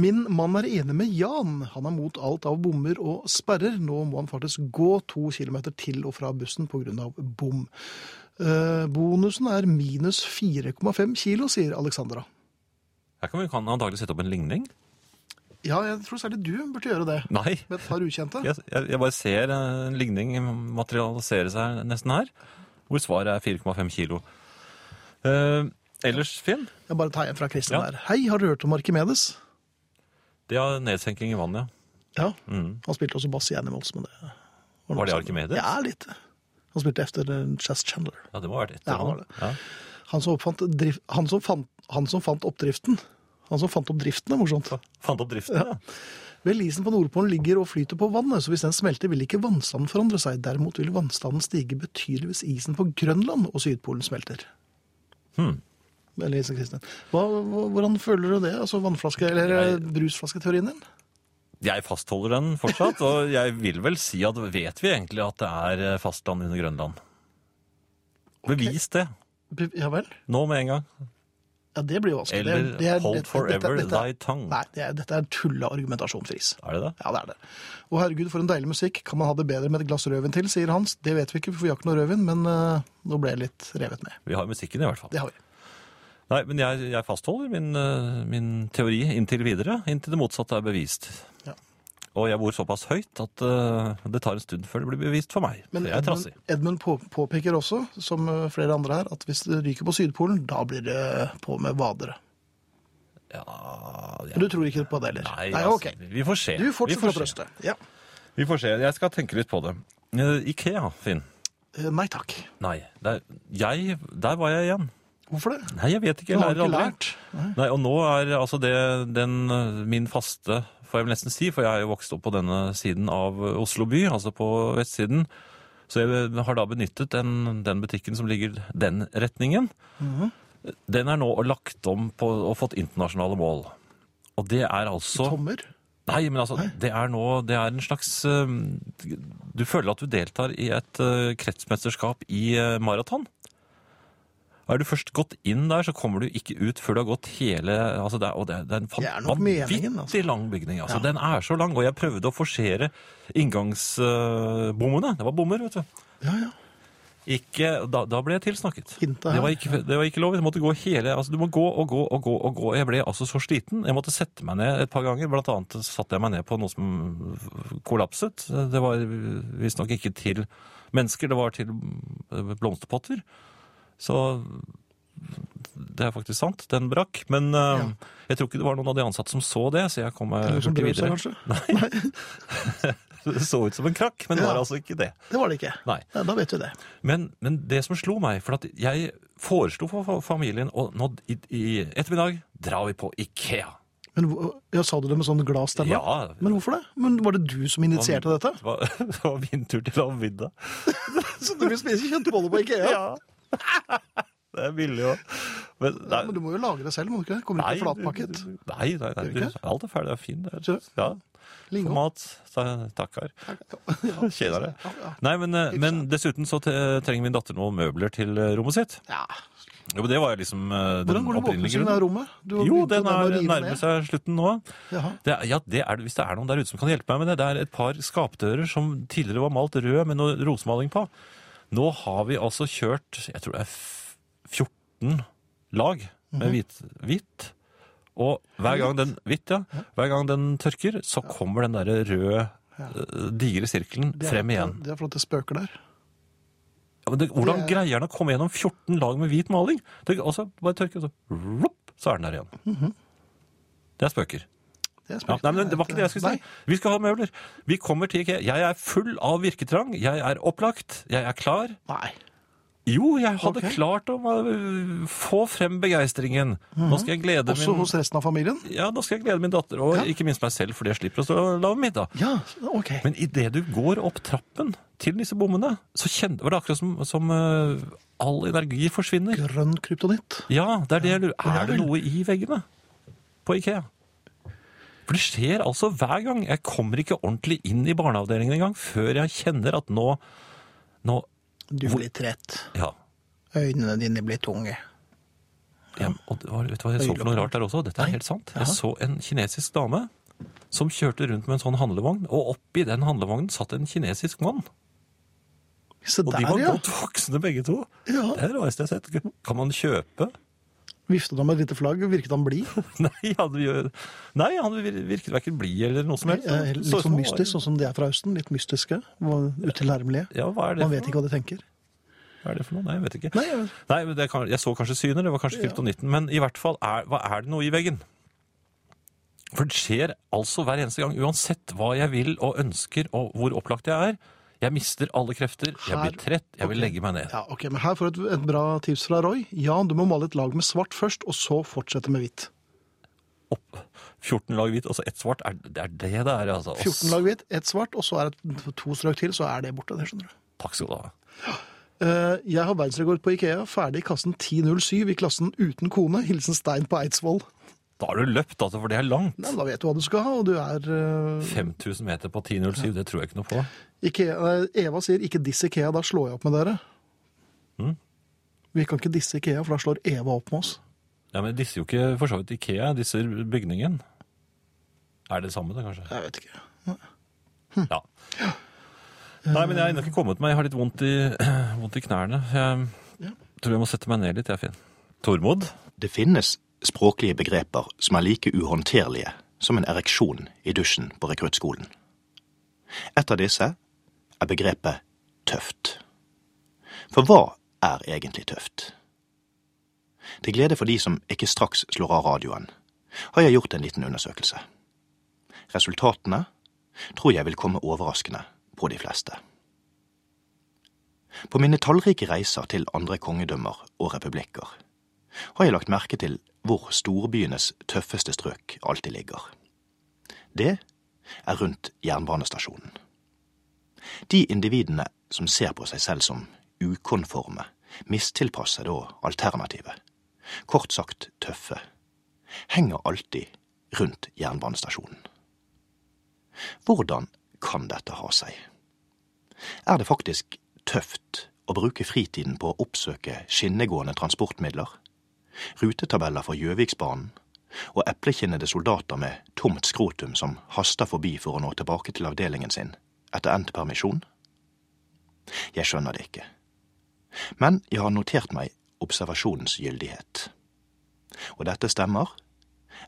[SPEAKER 4] Min mann er enig med Jan. Han er mot alt av bommer og sperrer. Nå må han faktisk gå to kilometer til og fra bussen pga. bom. Eh, bonusen er minus 4,5 kilo, sier Alexandra.
[SPEAKER 5] Her kan vi kan antagelig sette opp en ligning.
[SPEAKER 4] Ja, jeg tror særlig du burde gjøre det.
[SPEAKER 5] Nei.
[SPEAKER 4] Med et par ukjente.
[SPEAKER 5] Jeg, jeg, jeg bare ser eh, en ligning materialisere seg nesten her, hvor svaret er 4,5 kilo. Eh, ellers, Finn,
[SPEAKER 4] Jeg bare tar en fra Kristin
[SPEAKER 5] Ja.
[SPEAKER 4] der. Hei, har du hørt om Arkimedes?
[SPEAKER 5] det er nedsenking i vannet, ja.
[SPEAKER 4] Ja. Han spilte også bass i Animals, men det var,
[SPEAKER 5] Mm. Var det
[SPEAKER 4] noe-
[SPEAKER 5] Arkimedes?
[SPEAKER 4] Ja, litt. Han spilte efter eh, Chas Chandler.
[SPEAKER 5] Ja, det må ha vært etter
[SPEAKER 4] Ja, det var det.
[SPEAKER 5] Ja.
[SPEAKER 4] Han som, oppfant drif- han, som fant, han som fant oppdriften. Han som fant opp driften, er morsomt.
[SPEAKER 5] Fant opp driften, ja.
[SPEAKER 4] Vel, isen på Nordpolen ligger og flyter på vannet, så hvis den smelter, vil ikke vannstanden forandre seg. Derimot vil vannstanden stige betydelig hvis isen på Grønland og Sydpolen smelter.
[SPEAKER 5] Hmm.
[SPEAKER 4] Eller isen Kristin. Hva, hva- hvordan føler du det? Altså vannflaske- eller eh, brusflasketeorien din?
[SPEAKER 5] Jeg fastholder den fortsatt, og jeg vil vel si eh, at vet vi egentlig at det er fastland under Grønland? Bevis det.
[SPEAKER 4] Be- Ja vel?
[SPEAKER 5] Nå med en gang.
[SPEAKER 4] Ja, det blir jo vanskelig. Det er-
[SPEAKER 5] Eller
[SPEAKER 4] det er-
[SPEAKER 5] Hold
[SPEAKER 4] dette-
[SPEAKER 5] Forever
[SPEAKER 4] dette- dette-
[SPEAKER 5] Thy Tongue.
[SPEAKER 4] Nei, det er, dette er tulla argumentasjon, Friis.
[SPEAKER 5] Er det det?
[SPEAKER 4] Ja, det er det. Å herregud, for en deilig musikk. Kan man ha det bedre med et glass rødvin til, sier Hans. Det vet vi ikke, for vi har ikke noe rødvin, men eh, nå ble jeg litt revet med.
[SPEAKER 5] Vi har musikken i hvert fall.
[SPEAKER 4] Det har vi.
[SPEAKER 5] Nei, men jeg, jeg fastholder min, eh, min teori inntil videre, inntil det motsatte er bevist.
[SPEAKER 4] Ja.
[SPEAKER 5] Og jeg bor såpass høyt at eh, det tar en stund før det blir bevist for meg.
[SPEAKER 4] Men
[SPEAKER 5] for jeg er
[SPEAKER 4] Edmund,
[SPEAKER 5] trassig.
[SPEAKER 4] Edmund på, påpeker også, som eh, flere andre her, at hvis det ryker på Sydpolen, da blir det på med vadere.
[SPEAKER 5] Ja, jeg-
[SPEAKER 4] Men du tror ikke på det heller?
[SPEAKER 5] Nei,
[SPEAKER 4] Nei
[SPEAKER 5] altså,
[SPEAKER 4] ok.
[SPEAKER 5] vi får se.
[SPEAKER 4] Du
[SPEAKER 5] Vi
[SPEAKER 4] fortsetter
[SPEAKER 5] får
[SPEAKER 4] å
[SPEAKER 5] se.
[SPEAKER 4] trøste. Ja.
[SPEAKER 5] Vi får se. Jeg skal tenke litt på det. Eh, Ikea, Finn.
[SPEAKER 4] Eh, Nei takk.
[SPEAKER 5] Nei, der, jeg, der var jeg igjen.
[SPEAKER 4] Hvorfor det?
[SPEAKER 5] Nei, jeg vet ikke.
[SPEAKER 4] Du
[SPEAKER 5] Jeg
[SPEAKER 4] har
[SPEAKER 5] lærer
[SPEAKER 4] ikke
[SPEAKER 5] aldri.
[SPEAKER 4] lært. Nei.
[SPEAKER 5] Nei, og nå er altså det den, min faste, får jeg vel nesten si, for jeg er jo vokst opp på denne siden av Oslo by, altså på vestsiden. Så jeg har da benyttet den, den butikken som ligger den retningen.
[SPEAKER 4] Mhm.
[SPEAKER 5] Den er nå lagt om på, og fått internasjonale mål. Og det er altså
[SPEAKER 4] Tommer?
[SPEAKER 5] Nei, men altså, det er nå Det er en slags eh, Du føler at du deltar i et eh, kretsmesterskap i eh, maraton. Er du først gått inn der, så kommer du ikke ut før du har gått hele altså det er, Og det er, det er en fan-
[SPEAKER 4] Det er nok meningen, altså.
[SPEAKER 5] vanvittig lang bygning. Altså,
[SPEAKER 4] Ja.
[SPEAKER 5] Den er så lang, og jeg prøvde å forsere inngangsbommene. det var bommer, vet du.
[SPEAKER 4] Ja, ja.
[SPEAKER 5] Ikke, da, da ble jeg tilsnakket.
[SPEAKER 4] Hintet her.
[SPEAKER 5] Det var, ikke, det var ikke lov. Jeg måtte gå hele, altså Du må gå og gå og gå. og gå. Jeg ble altså så sliten. Jeg måtte sette meg ned et par ganger. Blant annet satte jeg meg ned på noe som kollapset. Det var visstnok ikke til mennesker, det var til eh, blomsterpotter. Så det er faktisk sant. Den brakk. Men eh, jeg tror ikke det var noen av de ansatte som så det, så jeg kom meg
[SPEAKER 4] Eller som
[SPEAKER 5] hurtig
[SPEAKER 4] brød seg,
[SPEAKER 5] videre.
[SPEAKER 4] kanskje?
[SPEAKER 5] Det så ut som en krakk, men
[SPEAKER 4] Ja.
[SPEAKER 5] det var altså ikke det.
[SPEAKER 4] Det var det ikke.
[SPEAKER 5] Nei.
[SPEAKER 4] Ja, da vet vi det.
[SPEAKER 5] Men, men det som slo meg, for at jeg foreslo for fa- familien og nå i, i ettermiddag drar vi på Ikea.
[SPEAKER 4] Men, hvor- ja, sa du det med sånn glad stemme?
[SPEAKER 5] Ja.
[SPEAKER 4] Men hvorfor det? Men Var det du som initierte dette?
[SPEAKER 5] Det var, det var min tur til å ha middag.
[SPEAKER 4] Så du vil spise kjøttboller på IKEA? Ja.
[SPEAKER 5] Det er billig òg. Men, nei,
[SPEAKER 4] Men du må jo lage det selv, må du ikke? det? Kommer
[SPEAKER 5] nei,
[SPEAKER 4] ikke flatpakket.
[SPEAKER 5] Nei, nei, nei,
[SPEAKER 4] Gjør
[SPEAKER 5] du,
[SPEAKER 4] du ikke?
[SPEAKER 5] alt er ferdig. Det er fint. Det
[SPEAKER 4] Gjør
[SPEAKER 5] er,
[SPEAKER 4] du?
[SPEAKER 5] ja.
[SPEAKER 4] Lingo.
[SPEAKER 5] Tomat. ta- Takkar. Kjeder
[SPEAKER 4] Ja,
[SPEAKER 5] deg.
[SPEAKER 4] ja.
[SPEAKER 5] Nei, men, eh, men dessuten så te- trenger min datter noen møbler til eh, rommet sitt.
[SPEAKER 4] Ja.
[SPEAKER 5] Jo, men Det var liksom eh,
[SPEAKER 4] Hvordan
[SPEAKER 5] den
[SPEAKER 4] går det med
[SPEAKER 5] opprinnelige
[SPEAKER 4] oppussingen av
[SPEAKER 5] grunnen.
[SPEAKER 4] rommet? Du har
[SPEAKER 5] Jo,
[SPEAKER 4] begynt
[SPEAKER 5] den
[SPEAKER 4] med å
[SPEAKER 5] er,
[SPEAKER 4] rive
[SPEAKER 5] nærmer
[SPEAKER 4] ned.
[SPEAKER 5] seg slutten nå.
[SPEAKER 4] Jaha.
[SPEAKER 5] Det er, ja, det er, det- hvis det er noen der ute som kan hjelpe meg med det, det er et par skapdører som tidligere var malt rød med noe rosemaling på. Nå har vi altså kjørt, jeg tror det er f- 14 lag
[SPEAKER 4] Mhm.
[SPEAKER 5] med hvit. hvit. Og hver gang den, hvitt, ja, hver gang den tørker, så kommer den der røde, eh, digre sirkelen
[SPEAKER 4] Det er-
[SPEAKER 5] frem igjen.
[SPEAKER 4] Det er flotte spøker der.
[SPEAKER 5] Ja, men det, hvordan
[SPEAKER 4] det er-
[SPEAKER 5] greier den å komme gjennom 14 lag med hvit maling? Det, og så bare tørker, og så, rupp, så er den der igjen.
[SPEAKER 4] Mhm.
[SPEAKER 5] Det er spøker.
[SPEAKER 4] Det, er
[SPEAKER 5] Ja,
[SPEAKER 4] spøker.
[SPEAKER 5] nei, men Det var ikke det jeg skulle si. Vi skal ha møbler. Vi kommer til IKEA. Jeg er full av virketrang. Jeg er opplagt. Jeg er klar.
[SPEAKER 4] Nei.
[SPEAKER 5] Jo, jeg hadde
[SPEAKER 4] Ok.
[SPEAKER 5] klart å øh, få frem begeistringen. Nå skal jeg
[SPEAKER 4] Mhm.
[SPEAKER 5] glede
[SPEAKER 4] Også hos
[SPEAKER 5] min
[SPEAKER 4] resten av familien?
[SPEAKER 5] ja, nå skal jeg glede min datter, og ikke minst meg selv, fordi jeg slipper å stå og lage middag.
[SPEAKER 4] Ja, ok.
[SPEAKER 5] Men idet du går opp trappen til disse bommene, så kjenner, var det akkurat som, som øh, all energi forsvinner.
[SPEAKER 4] Grønn kryptonitt.
[SPEAKER 5] Ja, det er det jeg lurer.
[SPEAKER 4] Ja
[SPEAKER 5] Er det
[SPEAKER 4] vel.
[SPEAKER 5] noe i veggene på Ikea? For det skjer altså hver gang. Jeg kommer ikke ordentlig inn i barneavdelingen engang før jeg kjenner at nå, nå
[SPEAKER 4] Du blir trett.
[SPEAKER 5] ja.
[SPEAKER 4] Øynene dine blir tunge.
[SPEAKER 5] Jeg, og det var, vet du hva jeg så for noe rart der også? Dette er helt sant. Jeg så en kinesisk dame som kjørte rundt med en sånn handlevogn, og oppi den handlevognen satt en kinesisk mann.
[SPEAKER 4] Se
[SPEAKER 5] Og
[SPEAKER 4] der,
[SPEAKER 5] de var
[SPEAKER 4] ja.
[SPEAKER 5] godt voksne begge to.
[SPEAKER 4] Ja.
[SPEAKER 5] Det er det rareste jeg har sett. Kan man kjøpe?
[SPEAKER 4] Viftet han med et lite flagg, virket han blid.
[SPEAKER 5] Nei, han, gjør- nei, han virket hverken blid eller noe som helst.
[SPEAKER 4] Eh, Litt
[SPEAKER 5] Så-
[SPEAKER 4] sånn mystisk, sånn som de er fra Østen. Litt mystiske. og Utilnærmelige.
[SPEAKER 5] Ja, hva er det
[SPEAKER 4] Man vet
[SPEAKER 5] for noe?
[SPEAKER 4] ikke hva de tenker.
[SPEAKER 5] Hva er det for noe? Nei, jeg vet ikke.
[SPEAKER 4] Nei, jeg vet-
[SPEAKER 5] Nei, men det kan, jeg så kanskje syner, det var kanskje kryptonitten, men i hvert fall, er, hva er det noe i veggen? For det skjer altså hver eneste gang, uansett hva jeg vil og ønsker, og hvor opplagt jeg er, jeg mister alle krefter, jeg
[SPEAKER 4] Her-
[SPEAKER 5] blir trett, jeg vil
[SPEAKER 4] Ok.
[SPEAKER 5] legge meg ned.
[SPEAKER 4] Ja, ok, men Her får du et, et bra tips fra Roy. Jan, du må male et lag med svart først, og så fortsette med hvitt.
[SPEAKER 5] Opp, 14 lag hvit, altså ett svart, er, det er det det er, altså.
[SPEAKER 4] 14 lag hvitt, ett svart, og så er det to strøk til, så er det borte. det skjønner du.
[SPEAKER 5] Takk skal du ha.
[SPEAKER 4] Eh, Jeg har verdensrekord på Ikea, ferdig i kassen 10.07 i klassen uten kone. Hilsen Stein på Eidsvoll.
[SPEAKER 5] Da har du løpt, altså, for det er langt.
[SPEAKER 4] Nei, men Da vet du hva du skal ha, og du er eh,
[SPEAKER 5] 5000 meter på 10.07, det tror jeg ikke noe på.
[SPEAKER 4] Mm. Ikea, nei, Eva sier 'ikke diss Ikea', da slår jeg opp med dere. Vi kan ikke disse Ikea, for da slår Eva opp med oss.
[SPEAKER 5] Ja, men Disse jo ikke for så vidt Ikea, disse bygningen. Er det det samme, det, kanskje?
[SPEAKER 4] Jeg vet ikke.
[SPEAKER 5] Ja. Nei, men jeg har ennå ikke kommet meg. Jeg har litt vondt i, vondt i knærne. Jeg tror jeg må sette meg ned litt, jeg, Finn. Tormod?
[SPEAKER 8] Det finnes språklige begreper som er like uhåndterlige som en ereksjon i dusjen på rekruttskolen. Et av disse er begrepet tøft. For hva er egentlig tøft? Til glede for de som ikke straks slår av radioen, har jeg gjort en liten undersøkelse. Resultatene tror jeg vil komme overraskende på de fleste. På mine tallrike reiser til andre kongedømmer og republikker har jeg lagt merke til hvor storbyenes tøffeste strøk alltid ligger. Det er rundt jernbanestasjonen. De individene som ser på seg selv som ukonforme, mistilpassede og alternative, kort sagt tøffe, henger alltid rundt jernbanestasjonen. Hvordan kan dette ha seg? Er det faktisk tøft å bruke fritiden på å oppsøke skinnegående transportmidler? rutetabeller for Gjøviksbanen og eplekinnede soldater med tomt skrotum som haster forbi for å nå tilbake til avdelingen sin etter endt permisjon? Jeg skjønner det ikke. Men jeg har notert meg observasjonens gyldighet. Og dette stemmer,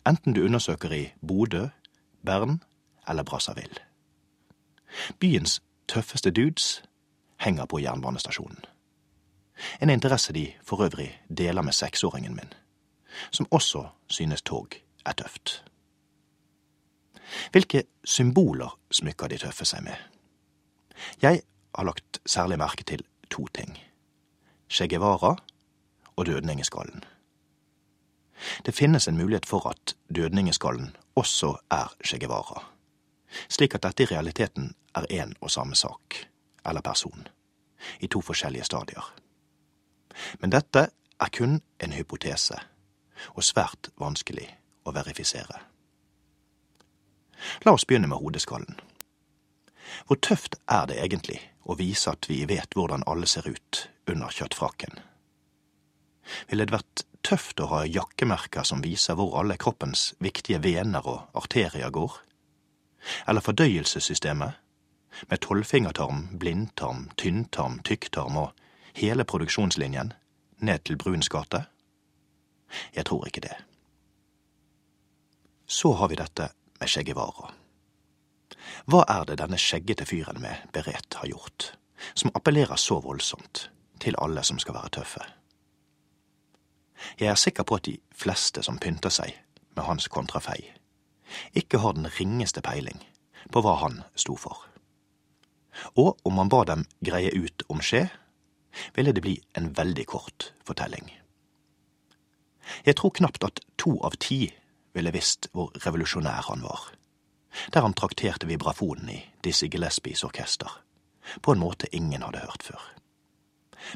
[SPEAKER 8] enten du undersøker i Bodø, Bern eller Brazzaville. Byens tøffeste dudes henger på jernbanestasjonen en interesse de for øvrig deler med seksåringen min, som også synes tog er tøft. Hvilke symboler smykker de tøffe seg med? Jeg har lagt særlig merke til to ting. Che Guevara og Dødningeskallen. Det finnes en mulighet for at Dødningeskallen også er Che Guevara, slik at dette i realiteten er én og samme sak, eller person, i to forskjellige stadier. Men dette er kun en hypotese, og svært vanskelig å verifisere. La oss begynne med hodeskallen. Hvor tøft er det egentlig å vise at vi vet hvordan alle ser ut under kjøttfrakken? Ville det vært tøft å ha jakkemerker som viser hvor alle kroppens viktige vener og arterier går? Eller fordøyelsessystemet, med tolvfingertarm, blindtarm, tynntarm, tykktarm og hele produksjonslinjen ned til Bruns gate? Jeg tror ikke det. Så har vi dette med skjeggevara. Hva er det denne skjeggete fyren med beret har gjort, som appellerer så voldsomt til alle som skal være tøffe? Jeg er sikker på at de fleste som pynter seg med hans kontrafei, ikke har den ringeste peiling på hva han sto for. Og om man ba dem greie ut om skje, ville det bli en veldig kort fortelling. Jeg tror knapt at to av ti ville visst hvor revolusjonær han var, der han trakterte vibrafonen i Dizzie Gillespies orkester, på en måte ingen hadde hørt før.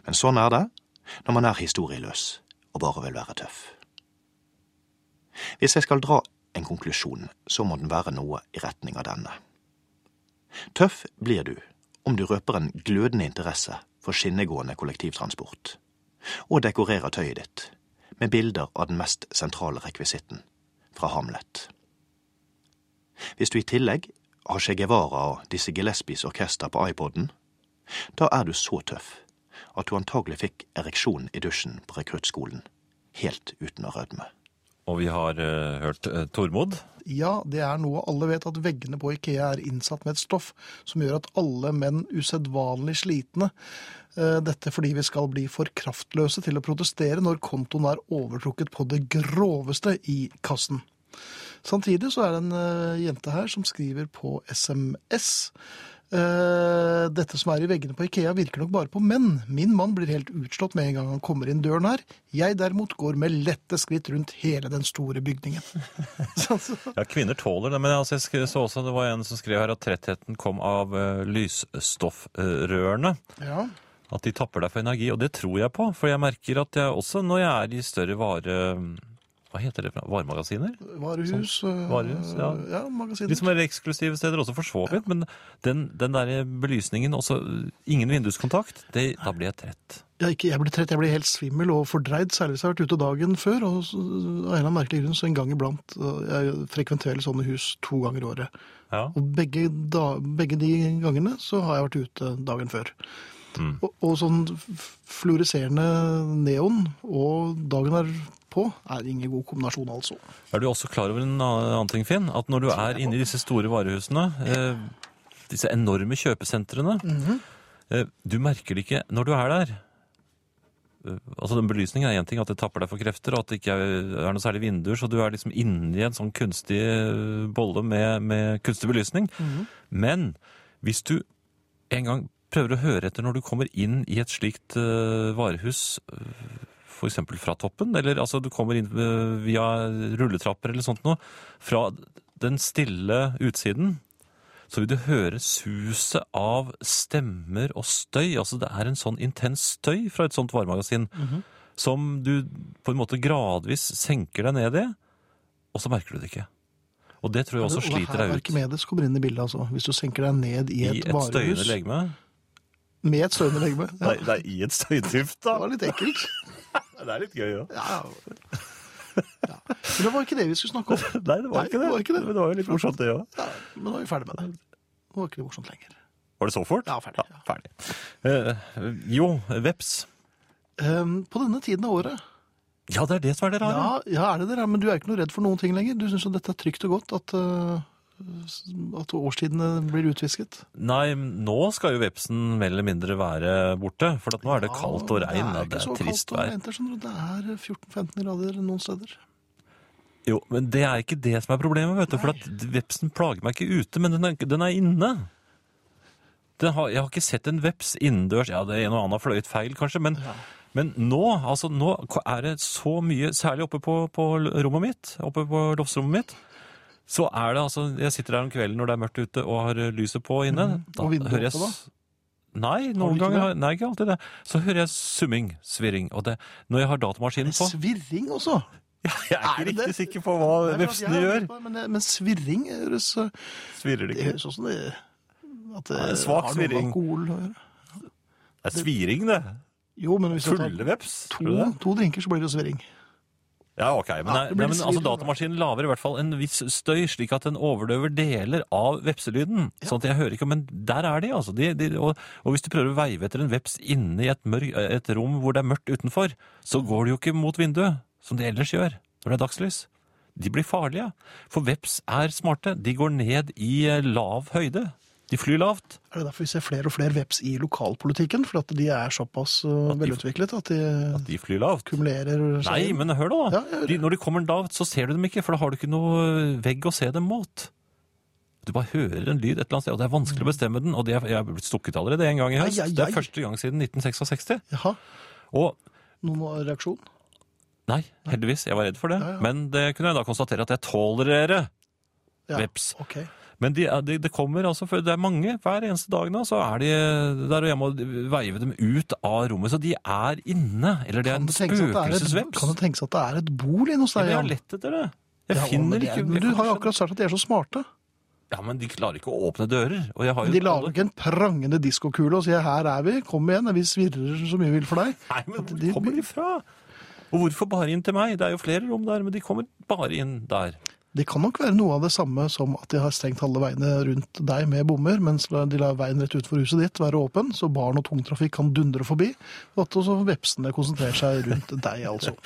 [SPEAKER 8] Men sånn er det når man er historieløs og bare vil være tøff. Hvis jeg skal dra en konklusjon, så må den være noe i retning av denne. Tøff blir du om du røper en glødende interesse for skinnegående kollektivtransport, og dekorerer tøyet ditt med bilder av den mest sentrale rekvisitten fra Hamlet. Hvis du i tillegg har Che Guevara og disse Gillespies orkester på iPoden, da er du så tøff at du antagelig fikk ereksjon i dusjen på rekruttskolen, helt uten å rødme.
[SPEAKER 5] Og vi har eh, hørt eh, Tormod.
[SPEAKER 4] Ja, det er noe alle vet, at veggene på Ikea er innsatt med et stoff som gjør at alle menn usedvanlig slitne. Eh, Dette fordi vi skal bli for kraftløse til å protestere når kontoen er overtrukket på det groveste i kassen. Samtidig så er det en eh, jente her som skriver på SMS. Eh, dette som er i veggene på Ikea virker nok bare på menn. Min mann blir helt utslått med en gang han kommer inn døren her. Jeg derimot går med lette skritt rundt hele den store bygningen. Så- så-
[SPEAKER 5] Ja, Kvinner tåler det, men altså, jeg sk- så også det var en som skrev her at trettheten kom av eh, lysstoffrørene.
[SPEAKER 4] Ja.
[SPEAKER 5] At de tapper deg for energi, og det tror jeg på. For jeg merker at jeg også når jeg er i større vare, Hva heter det? for noe? Varemagasiner?
[SPEAKER 4] Varehus, eh,
[SPEAKER 5] Varehus, ja.
[SPEAKER 4] ja magasiner.
[SPEAKER 5] De som er eksklusive steder, også for så vidt. Men den, den der belysningen, også øh, ingen vinduskontakt, det, da blir jeg trett.
[SPEAKER 4] Ja, ikke, jeg blir trett, jeg blir helt svimmel og fordreid, særlig hvis jeg har vært ute dagen før. Og så- av en eller annen merkelig grunn, så en gang iblant eh, Jeg frekventerer sånne hus to ganger i året.
[SPEAKER 5] Ja.
[SPEAKER 4] Og begge, da, begge de gangene så har jeg vært ute dagen før.
[SPEAKER 5] Mm.
[SPEAKER 4] Og, og sånn f- fluoreserende neon og dagen er på er ingen god kombinasjon, altså.
[SPEAKER 5] Er du også klar over en annen ting, Finn? At når du er inne i disse store varehusene, eh, disse enorme kjøpesentrene, eh, du merker det ikke når du er der. Eh, Altså den Belysningen er én ting, at det tapper deg for krefter, og at det ikke er er noe særlig vinduer, så du er liksom inni en sånn kunstig eh, bolle med, med kunstig belysning. Men hvis du en gang prøver å høre etter når du kommer inn i et slikt eh, varehus, eh, for eksempel fra toppen, eller altså du kommer inn eh, via rulletrapper eller sånt noe, fra den stille utsiden, så vil du høre suset av stemmer og støy. Altså det er en sånn intens støy fra et sånt varemagasin, som du på en måte gradvis senker deg ned i, og så merker du det ikke. Og det tror jeg også sliter deg
[SPEAKER 4] her
[SPEAKER 5] ut.
[SPEAKER 4] Arkimedes kommer inn i bildet, altså. Hvis du senker deg ned i
[SPEAKER 5] I
[SPEAKER 4] et,
[SPEAKER 5] et støyende
[SPEAKER 4] varehus
[SPEAKER 5] legeme?
[SPEAKER 4] med et støyende legeme. Ja,
[SPEAKER 5] Nei, det er i et støydyft,
[SPEAKER 4] det var litt ekkelt.
[SPEAKER 5] Det er litt gøy, ja.
[SPEAKER 4] Ja. Ja. Men det var ikke det vi skulle snakke om.
[SPEAKER 5] Nei, det var,
[SPEAKER 4] Nei,
[SPEAKER 5] ikke, det.
[SPEAKER 4] det var ikke det.
[SPEAKER 5] Men det var jo litt morsomt, det òg.
[SPEAKER 4] Ja, men nå er vi ferdig med det. Nå var ikke det morsomt lenger.
[SPEAKER 5] Var det så fort?
[SPEAKER 4] Ja, ferdig, ja.
[SPEAKER 5] ferdig. Eh, jo, veps.
[SPEAKER 4] Ehm, på denne tiden av året
[SPEAKER 5] Ja, det er det som er det rare.
[SPEAKER 4] ja, ja, er det det, men du er ikke noe redd for noen ting lenger. Du syns jo dette er trygt og godt, at, eh, at årstidene blir utvisket.
[SPEAKER 5] Nei, nå skal jo vepsen mer eller mindre være borte, for at nå er det kaldt og regn.
[SPEAKER 4] Ja,
[SPEAKER 5] og Det er, trist
[SPEAKER 4] Det er
[SPEAKER 5] vær.
[SPEAKER 4] ikke så kaldt og regn, det er 14-15 grader noen steder.
[SPEAKER 5] Jo, men det er ikke det som er problemet, vet du. For at vepsen plager meg ikke ute, men den er, den er inne. Den har, jeg har ikke sett en veps innendørs. Ja, det er en og annen har fløyet feil, kanskje, men, men nå, altså, nå er det så mye, særlig oppe på, på rommet mitt, oppe på loftsrommet mitt, så er det altså Jeg sitter her om kvelden når det er mørkt ute og har eh, lyset på inne.
[SPEAKER 4] Mhm. og vinduet
[SPEAKER 5] hører jeg
[SPEAKER 4] oppe da?
[SPEAKER 5] s- Nei,
[SPEAKER 4] Har
[SPEAKER 5] noen
[SPEAKER 4] du ikke
[SPEAKER 5] ganger. har- Nei, ikke alltid det. Så hører jeg summing, svirring. Og det, når jeg har datamaskinen på
[SPEAKER 4] Svirring også!
[SPEAKER 5] Jeg er
[SPEAKER 4] Er
[SPEAKER 5] ikke
[SPEAKER 4] det det?
[SPEAKER 5] riktig sikker på hva
[SPEAKER 4] Det er klart, jeg
[SPEAKER 5] vepsene
[SPEAKER 4] har
[SPEAKER 5] gjør.
[SPEAKER 4] hørt på det, Men, men svirring høres eh,
[SPEAKER 5] Svirrer det
[SPEAKER 4] Det
[SPEAKER 5] ikke?
[SPEAKER 4] høres også det, at det
[SPEAKER 5] Ja, en svak
[SPEAKER 4] har noe med
[SPEAKER 5] svirring.
[SPEAKER 4] alkohol å gjøre.
[SPEAKER 5] Det er sviring, det.
[SPEAKER 4] Jo, men hvis du tar
[SPEAKER 5] Fulle veps. Tror du
[SPEAKER 4] to,
[SPEAKER 5] det?
[SPEAKER 4] to drinker, så blir det jo svirring.
[SPEAKER 5] Ja, ok.
[SPEAKER 4] Ja, det
[SPEAKER 5] Men, nei,
[SPEAKER 4] blir
[SPEAKER 5] nei, men altså,
[SPEAKER 4] svirring, da.
[SPEAKER 5] datamaskinen lager i hvert fall en viss støy, slik at den overdøver deler av vepselyden. Sånn at jeg hører ikke, men der er de, altså. De, de, og, og hvis du prøver å veive etter en veps inne i et, mørk, et rom hvor det er mørkt utenfor, så går det jo ikke mot vinduet, som de ellers gjør når det er dagslys. De blir farlige, for veps er smarte. De går ned i eh, lav høyde. De flyr lavt.
[SPEAKER 4] Er det derfor vi ser flere og flere veps i lokalpolitikken? For at de er såpass uh, velutviklet at de
[SPEAKER 5] De flyr lavt.
[SPEAKER 4] kumulerer seg?
[SPEAKER 5] Nei,
[SPEAKER 4] inn?
[SPEAKER 5] men hør nå, da.
[SPEAKER 4] Ja, jeg hører.
[SPEAKER 5] de, når de kommer lavt, så ser du dem ikke, for da har du ikke noe vegg å se dem mot. Du bare hører en lyd et eller annet sted, og det er vanskelig å bestemme den. Og det er, jeg er blitt stukket allerede en gang i høst.
[SPEAKER 4] Ai, ai,
[SPEAKER 5] Det
[SPEAKER 4] ai.
[SPEAKER 5] er første gang siden 1966.
[SPEAKER 4] Jaha,
[SPEAKER 5] Og
[SPEAKER 4] noen reaksjon?
[SPEAKER 5] nei, heldigvis, jeg var redd for det.
[SPEAKER 4] Ja, ja.
[SPEAKER 5] Men det kunne jeg da konstatere at jeg tolererer.
[SPEAKER 4] Ja,
[SPEAKER 5] Veps.
[SPEAKER 4] Ok.
[SPEAKER 5] Men de, er- de, det kommer altså, for det er mange hver eneste dag nå, så er de der, og jeg må veive dem ut av rommet. Så de er inne, eller det er
[SPEAKER 4] Kan
[SPEAKER 5] en
[SPEAKER 4] det tenkes at det er et-
[SPEAKER 5] spøkelsesveps.
[SPEAKER 4] kan det tenkes at det er et bol inne hos
[SPEAKER 5] Ja,
[SPEAKER 4] deg?
[SPEAKER 5] men Jeg har
[SPEAKER 4] Jan?
[SPEAKER 5] lett etter det. Jeg
[SPEAKER 4] Ja, å, men
[SPEAKER 5] finner
[SPEAKER 4] det er-
[SPEAKER 5] ikke
[SPEAKER 4] men
[SPEAKER 5] jeg
[SPEAKER 4] Du
[SPEAKER 5] kan
[SPEAKER 4] har jo
[SPEAKER 5] ikke skjønne-
[SPEAKER 4] akkurat sagt at de er så smarte.
[SPEAKER 5] Ja, men de klarer ikke å åpne dører. Og jeg har jo
[SPEAKER 4] De lager ikke en prangende diskokule og sier 'her er vi, kom igjen, vi svirrer så mye vi vil for deg'.
[SPEAKER 5] Nei, men
[SPEAKER 4] de-
[SPEAKER 5] hvor kommer de fra? Og hvorfor bare inn til meg? Det er jo flere rom der, men de kommer bare inn der.
[SPEAKER 4] Det kan nok være noe av det samme som at de har stengt alle veiene rundt deg med bommer, mens de lar veien rett utenfor huset ditt være åpen, så barn og tungtrafikk kan dundre forbi, og at også vepsene konsentrerer seg rundt deg, altså.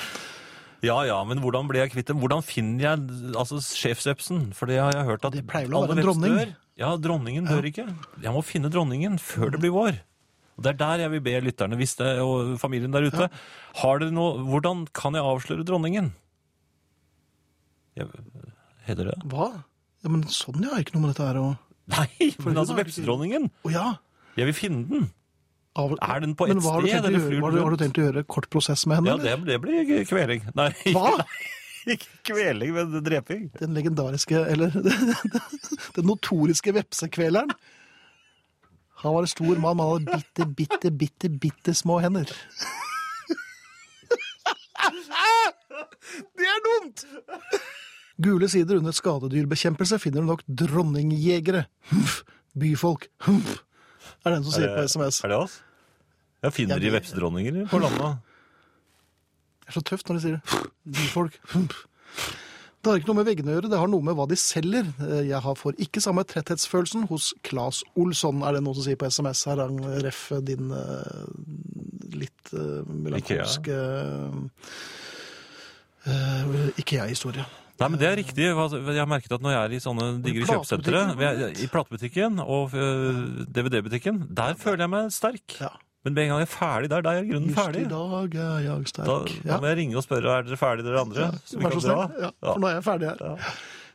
[SPEAKER 5] Ja ja, men hvordan ble jeg kvitt dem? Hvordan finner jeg altså sjefsvepsen? For det har jeg hørt at
[SPEAKER 4] Det pleier vel å
[SPEAKER 5] alle
[SPEAKER 4] være en
[SPEAKER 5] veps
[SPEAKER 4] dronning?
[SPEAKER 5] dør. Ja, dronningen dør ikke. Jeg må finne dronningen før
[SPEAKER 4] Mm.
[SPEAKER 5] det blir vår. Og Det er der jeg vil be lytterne hvis det, og familien der ute. Har dere noe Hvordan kan jeg avsløre dronningen? Jeg, heter det det?
[SPEAKER 4] Hva? Ja, men sånn ja, ikke noe med dette her å
[SPEAKER 5] Nei, men
[SPEAKER 4] det
[SPEAKER 5] altså
[SPEAKER 4] har du ikke.
[SPEAKER 5] vepsedronningen!
[SPEAKER 4] Å ja!
[SPEAKER 5] Jeg vil finne den.
[SPEAKER 4] Av-
[SPEAKER 5] Er den på
[SPEAKER 4] Men
[SPEAKER 5] ett
[SPEAKER 4] hva har du
[SPEAKER 5] sted,
[SPEAKER 4] tenkt å
[SPEAKER 5] eller
[SPEAKER 4] gjøre-
[SPEAKER 5] flyr
[SPEAKER 4] hva
[SPEAKER 5] den
[SPEAKER 4] har du- Har du
[SPEAKER 5] rundt?
[SPEAKER 4] tenkt å gjøre kort prosess med henne?
[SPEAKER 5] Ja, det,
[SPEAKER 4] eller?
[SPEAKER 5] det blir ikke kveling. Nei,
[SPEAKER 4] Hva?
[SPEAKER 5] ikke kveling, men dreping.
[SPEAKER 4] Den legendariske, eller den notoriske vepsekveleren. Han var en stor mann, men han hadde bitte, bitte, bitte, bitte små hender.
[SPEAKER 5] Det er dumt!
[SPEAKER 4] Gule sider under skadedyrbekjempelse finner du nok dronningjegere. Humph. Byfolk. Humph. Er den som sier på SMS.
[SPEAKER 5] Er det oss? Ja, finner
[SPEAKER 4] Ja,
[SPEAKER 5] de
[SPEAKER 4] det-
[SPEAKER 5] vepsedronninger på landa?
[SPEAKER 4] Det er så tøft når de sier det. Byfolk. Hump. Det har ikke noe med veggene å gjøre, det har noe med hva de selger. Eh, Jeg har får ikke samme tretthetsfølelsen hos Claes Olsson, er det noen som sier på SMS her, han ref din eh, litt eh, melankolske eh, Ikea-historie.
[SPEAKER 5] Nei, men Det er riktig. Hva- Jeg har merket at når jeg er i sånne digre
[SPEAKER 4] platebutikken,
[SPEAKER 5] kjøpesentre,
[SPEAKER 4] blant
[SPEAKER 5] ved- i platebutikken og øh, DVD-butikken, der føler jeg meg sterk.
[SPEAKER 4] Ja.
[SPEAKER 5] Men med en gang jeg er ferdig der, da er jeg i grunnen
[SPEAKER 4] Just
[SPEAKER 5] ferdig.
[SPEAKER 4] i dag er jeg
[SPEAKER 5] Da,
[SPEAKER 4] sterk.
[SPEAKER 5] da må jeg ringe og spørre er dere ferdige, dere andre. Så vi
[SPEAKER 4] Vær
[SPEAKER 5] kan
[SPEAKER 4] så
[SPEAKER 5] dra.
[SPEAKER 4] snill. Ja,
[SPEAKER 5] Ja.
[SPEAKER 4] for nå er jeg ferdig her.
[SPEAKER 5] Ja.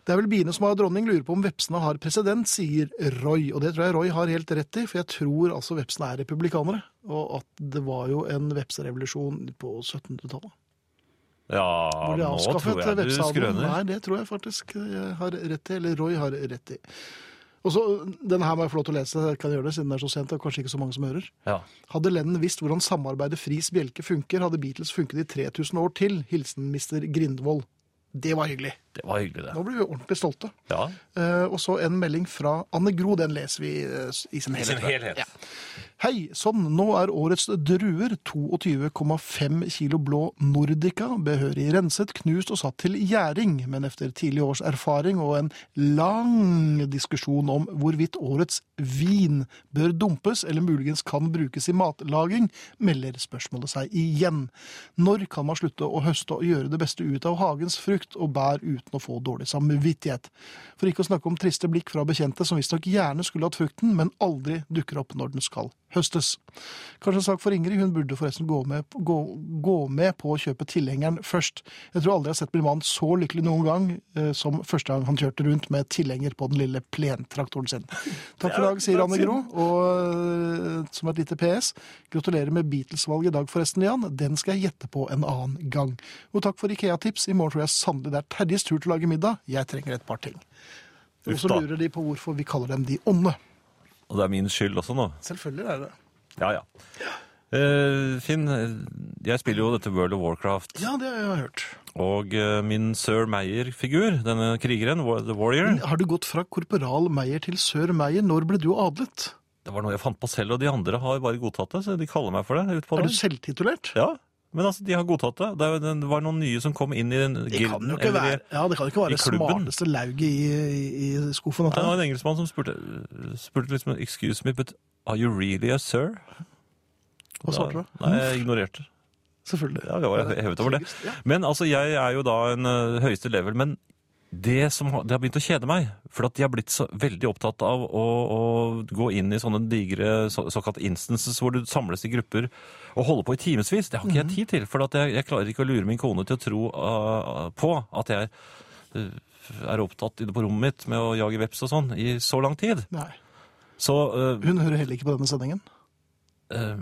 [SPEAKER 4] Det er vel biene som har dronning, lurer på om vepsene har president, sier Roy. Og det tror jeg Roy har helt rett i, for jeg tror altså vepsene er republikanere. Og at det var jo en vepserevolusjon på 1700-tallet.
[SPEAKER 5] Ja,
[SPEAKER 4] Hvor de
[SPEAKER 5] nå tror
[SPEAKER 4] avskaffet
[SPEAKER 5] jeg du
[SPEAKER 4] vepsehandelen.
[SPEAKER 5] skrøner.
[SPEAKER 4] Nei, det tror jeg faktisk jeg har rett i. Eller Roy har rett i. Og så, Denne her må jeg få lov til å lese, jeg kan gjøre det siden det er så sent og kanskje ikke så mange som hører.
[SPEAKER 5] Ja.
[SPEAKER 4] Hadde Lennon visst hvordan samarbeidet Fris Bjelke funker, hadde Beatles funket i 3000 år til. Hilsen mister Grindvold. Det var hyggelig.
[SPEAKER 5] Det var hyggelig, det.
[SPEAKER 4] Nå blir vi ordentlig stolte.
[SPEAKER 5] Ja.
[SPEAKER 4] Eh, og så en melding fra Anne Gro, den leser vi eh, i sin helhet. tror jeg. Ja. Hei, sånn, nå er årets druer 22,5 kilo blå Nordica, behørig renset, knust og satt til gjæring, men efter tidlig års erfaring og en lang diskusjon om hvorvidt årets vin bør dumpes eller muligens kan brukes i matlaging, melder spørsmålet seg igjen. Når kan man slutte å høste og gjøre det beste ut av hagens frukt og bær uten å få dårlig samvittighet? For ikke å snakke om triste blikk fra bekjente som visstnok gjerne skulle hatt frukten, men aldri dukker opp når den skal høstes. Kanskje en sak for Ingrid, hun burde forresten gå med, gå, gå med på å kjøpe tilhengeren først. Jeg tror aldri jeg har sett min mann så lykkelig noen gang eh, som første gang han kjørte rundt med tilhenger på den lille plentraktoren sin. Takk for i dag, sier Anne Gro, og eh, som et lite PS, gratulerer med Beatles-valget i dag forresten, Jan. Den skal jeg gjette på en annen gang. Og takk for Ikea-tips. I morgen tror jeg sannelig det er Terjes tur til å lage middag. Jeg trenger et par ting. Og
[SPEAKER 5] Uff
[SPEAKER 4] så
[SPEAKER 5] da.
[SPEAKER 4] lurer de på hvorfor vi kaller dem de onde.
[SPEAKER 5] Og det er min skyld også nå.
[SPEAKER 4] Selvfølgelig er det.
[SPEAKER 5] Ja, ja. Eh, Finn, jeg spiller jo dette World of Warcraft,
[SPEAKER 4] Ja, det har jeg hørt.
[SPEAKER 5] og eh, min Sir Meyer-figur, denne krigeren, Wa- The Warrior,
[SPEAKER 4] Har du gått fra korporal Meyer til sør Meyer? Når ble du adlet?
[SPEAKER 5] det var noe jeg fant på selv, og de andre har bare godtatt det, så de kaller meg for det. Ut på
[SPEAKER 4] Er
[SPEAKER 5] det.
[SPEAKER 4] du selvtitulert?
[SPEAKER 5] Ja, men altså, de har godtatt det. Det er- Det var noen nye som kom inn i den
[SPEAKER 4] Det kan jo
[SPEAKER 5] gilden.
[SPEAKER 4] ikke
[SPEAKER 5] eller i-
[SPEAKER 4] være Ja, det kan jo ikke være
[SPEAKER 5] i
[SPEAKER 4] det
[SPEAKER 5] klubben.
[SPEAKER 4] smarteste lauget i, i, i skuffen.
[SPEAKER 5] Nei, det
[SPEAKER 4] At
[SPEAKER 5] var en engelskmann som spurte, spurte liksom, excuse me, but are you really a sir?
[SPEAKER 4] Hva svarte du? Mm,
[SPEAKER 5] Nei, jeg ignorerte.
[SPEAKER 4] Selvfølgelig.
[SPEAKER 5] Ja, det var hevet over det.
[SPEAKER 4] Ja.
[SPEAKER 5] Men altså, jeg er jo da en ø, høyeste level, men det, som har, det har begynt å kjede meg, for at de har blitt så veldig opptatt av å, å gå inn i sånne digre så, såkalt instances hvor du samles i grupper og holder på i timevis. Det har ikke jeg tid til, for at jeg, jeg klarer ikke å lure min kone til å tro ø, på at jeg ø, er opptatt inne på rommet mitt med å jage veps og sånn i så lang tid.
[SPEAKER 4] Nei.
[SPEAKER 5] Så eh, ø,
[SPEAKER 4] Hun hører heller ikke på denne sendingen.
[SPEAKER 5] ø, eh,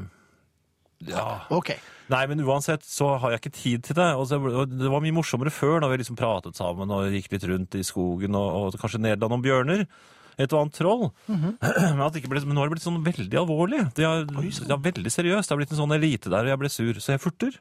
[SPEAKER 5] ja.
[SPEAKER 4] OK.
[SPEAKER 5] Nei, men uansett så har jeg ikke tid til det. Og så, og det var mye morsommere før, da vi liksom pratet sammen og gikk litt rundt i skogen og, og kanskje Nederland om bjørner. Et og annet troll. men, at det ikke ble, men nå har det blitt sånn veldig alvorlig. Det er, det er veldig seriøst. Det har blitt en sånn elite der, og jeg ble sur. Så jeg furter.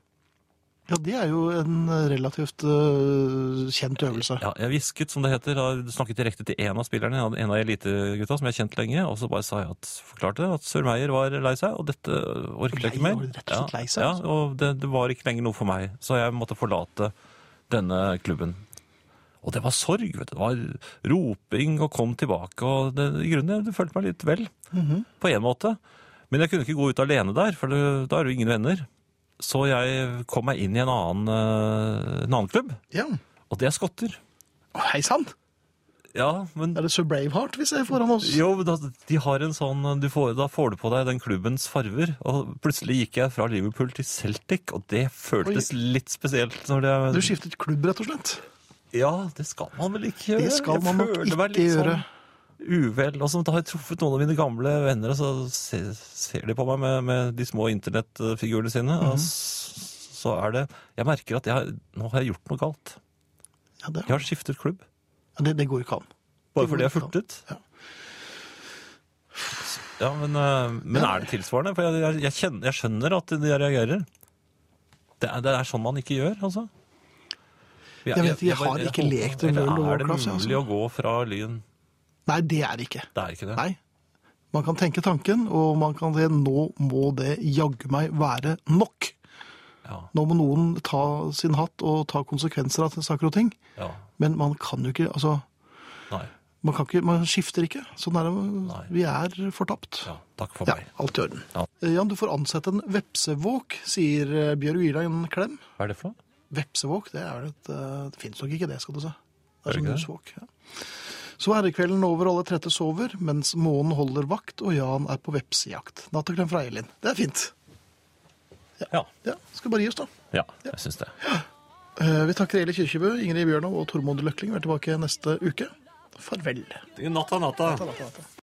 [SPEAKER 4] Ja, det er jo en relativt øh, kjent øvelse.
[SPEAKER 5] Ja, jeg hvisket, som det heter. Da snakket direkte til en av spillerne, en av- en av elitegutta som jeg har kjent lenge. Og så bare sa jeg at, forklarte jeg at Sør Meyer var lei seg, og dette orket jeg
[SPEAKER 4] Lei,
[SPEAKER 5] ikke mer.
[SPEAKER 4] var du rett og slett lei seg,
[SPEAKER 5] Ja,
[SPEAKER 4] altså?
[SPEAKER 5] ja og det, det var ikke lenger noe for meg. Så jeg måtte forlate denne klubben. Og det var sorg, vet du. Det var roping og kom tilbake. Og det, i grunnen, det følte meg litt vel.
[SPEAKER 4] Mhm.
[SPEAKER 5] På en måte. Men jeg kunne ikke gå ut alene der, for det, da er det jo ingen venner. Så jeg kom meg inn i en annen, eh, en annen klubb,
[SPEAKER 4] Ja.
[SPEAKER 5] og det er skotter.
[SPEAKER 4] Å, Hei sann!
[SPEAKER 5] Ja, men
[SPEAKER 4] Er det Sir Braveheart vi ser foran oss?
[SPEAKER 5] jo, men da, de har en sånn du får, Da får du på deg den klubbens farver. Og plutselig gikk jeg fra Liverpool til Celtic, og det føltes litt spesielt. Når det,
[SPEAKER 4] Du skiftet klubb, rett og slett?
[SPEAKER 5] ja, det skal man vel ikke gjøre?
[SPEAKER 4] Det skal
[SPEAKER 5] Jeg
[SPEAKER 4] man nok
[SPEAKER 5] føler meg
[SPEAKER 4] ikke
[SPEAKER 5] litt
[SPEAKER 4] gjøre.
[SPEAKER 5] Sånn uvel. Og så da har jeg truffet noen av mine gamle venner, og så se, ser de på meg med, med de små internettfigurene sine.
[SPEAKER 4] Mhm.
[SPEAKER 5] Og s- så er det Jeg merker at jeg, har- nå har jeg gjort noe galt.
[SPEAKER 4] Ja, det,
[SPEAKER 5] Jeg har skiftet klubb.
[SPEAKER 4] ja, det, det går ikke an.
[SPEAKER 5] Bare fordi jeg
[SPEAKER 4] går ikke
[SPEAKER 5] furtet?
[SPEAKER 4] Ja.
[SPEAKER 5] Ja, men, eh, men er det tilsvarende? For jeg, jeg, jeg, kjenner, jeg skjønner at de reagerer. Det er, det er sånn man ikke gjør, altså. Vi er-
[SPEAKER 4] Jeg vet ikke, jeg
[SPEAKER 5] bare-
[SPEAKER 4] har ikke
[SPEAKER 5] håper-
[SPEAKER 4] lekt en
[SPEAKER 5] eller
[SPEAKER 4] World of
[SPEAKER 5] Er det
[SPEAKER 4] Warcraft, jeg, altså.
[SPEAKER 5] mulig å gå fra lyn
[SPEAKER 4] Nei, det er det ikke.
[SPEAKER 5] Det er ikke det.
[SPEAKER 4] Nei. Man kan tenke tanken, og man kan se nå må det jaggu meg være nok.
[SPEAKER 5] Ja.
[SPEAKER 4] Nå må noen ta sin hatt og ta konsekvenser av saker og ting.
[SPEAKER 5] ja.
[SPEAKER 4] Men man kan jo ikke altså,
[SPEAKER 5] Nei.
[SPEAKER 4] man, kan ikke, man skifter ikke. Sånn er det.
[SPEAKER 5] Nei.
[SPEAKER 4] Vi er fortapt.
[SPEAKER 5] Ja. Takk for
[SPEAKER 4] Ja,
[SPEAKER 5] meg.
[SPEAKER 4] alt i orden.
[SPEAKER 5] Ja.
[SPEAKER 4] Eh, Jan, du får ansette en vepsevåk, sier eh, Bjørg Ylein Klem.
[SPEAKER 5] Hva er det for noe?
[SPEAKER 4] Vepsevåk, det er vel et eh, Det fins nok ikke det, skal du se. Det
[SPEAKER 5] Er
[SPEAKER 4] er
[SPEAKER 5] det
[SPEAKER 4] som
[SPEAKER 5] ikke det?
[SPEAKER 4] husvåk. Ja. Så er kvelden over, alle trette sover, mens månen holder vakt og Jan er på vepsejakt. Natt og klem fra Elin. Det er fint.
[SPEAKER 5] Ja.
[SPEAKER 4] Ja, skal bare gi oss, da.
[SPEAKER 5] ja, jeg syns det.
[SPEAKER 4] Eh, Vi takker Eli Kirkebø, Ingrid Bjørnov og Tormod Løkling. Vi er tilbake neste uke. Farvel.
[SPEAKER 5] Natta, natta.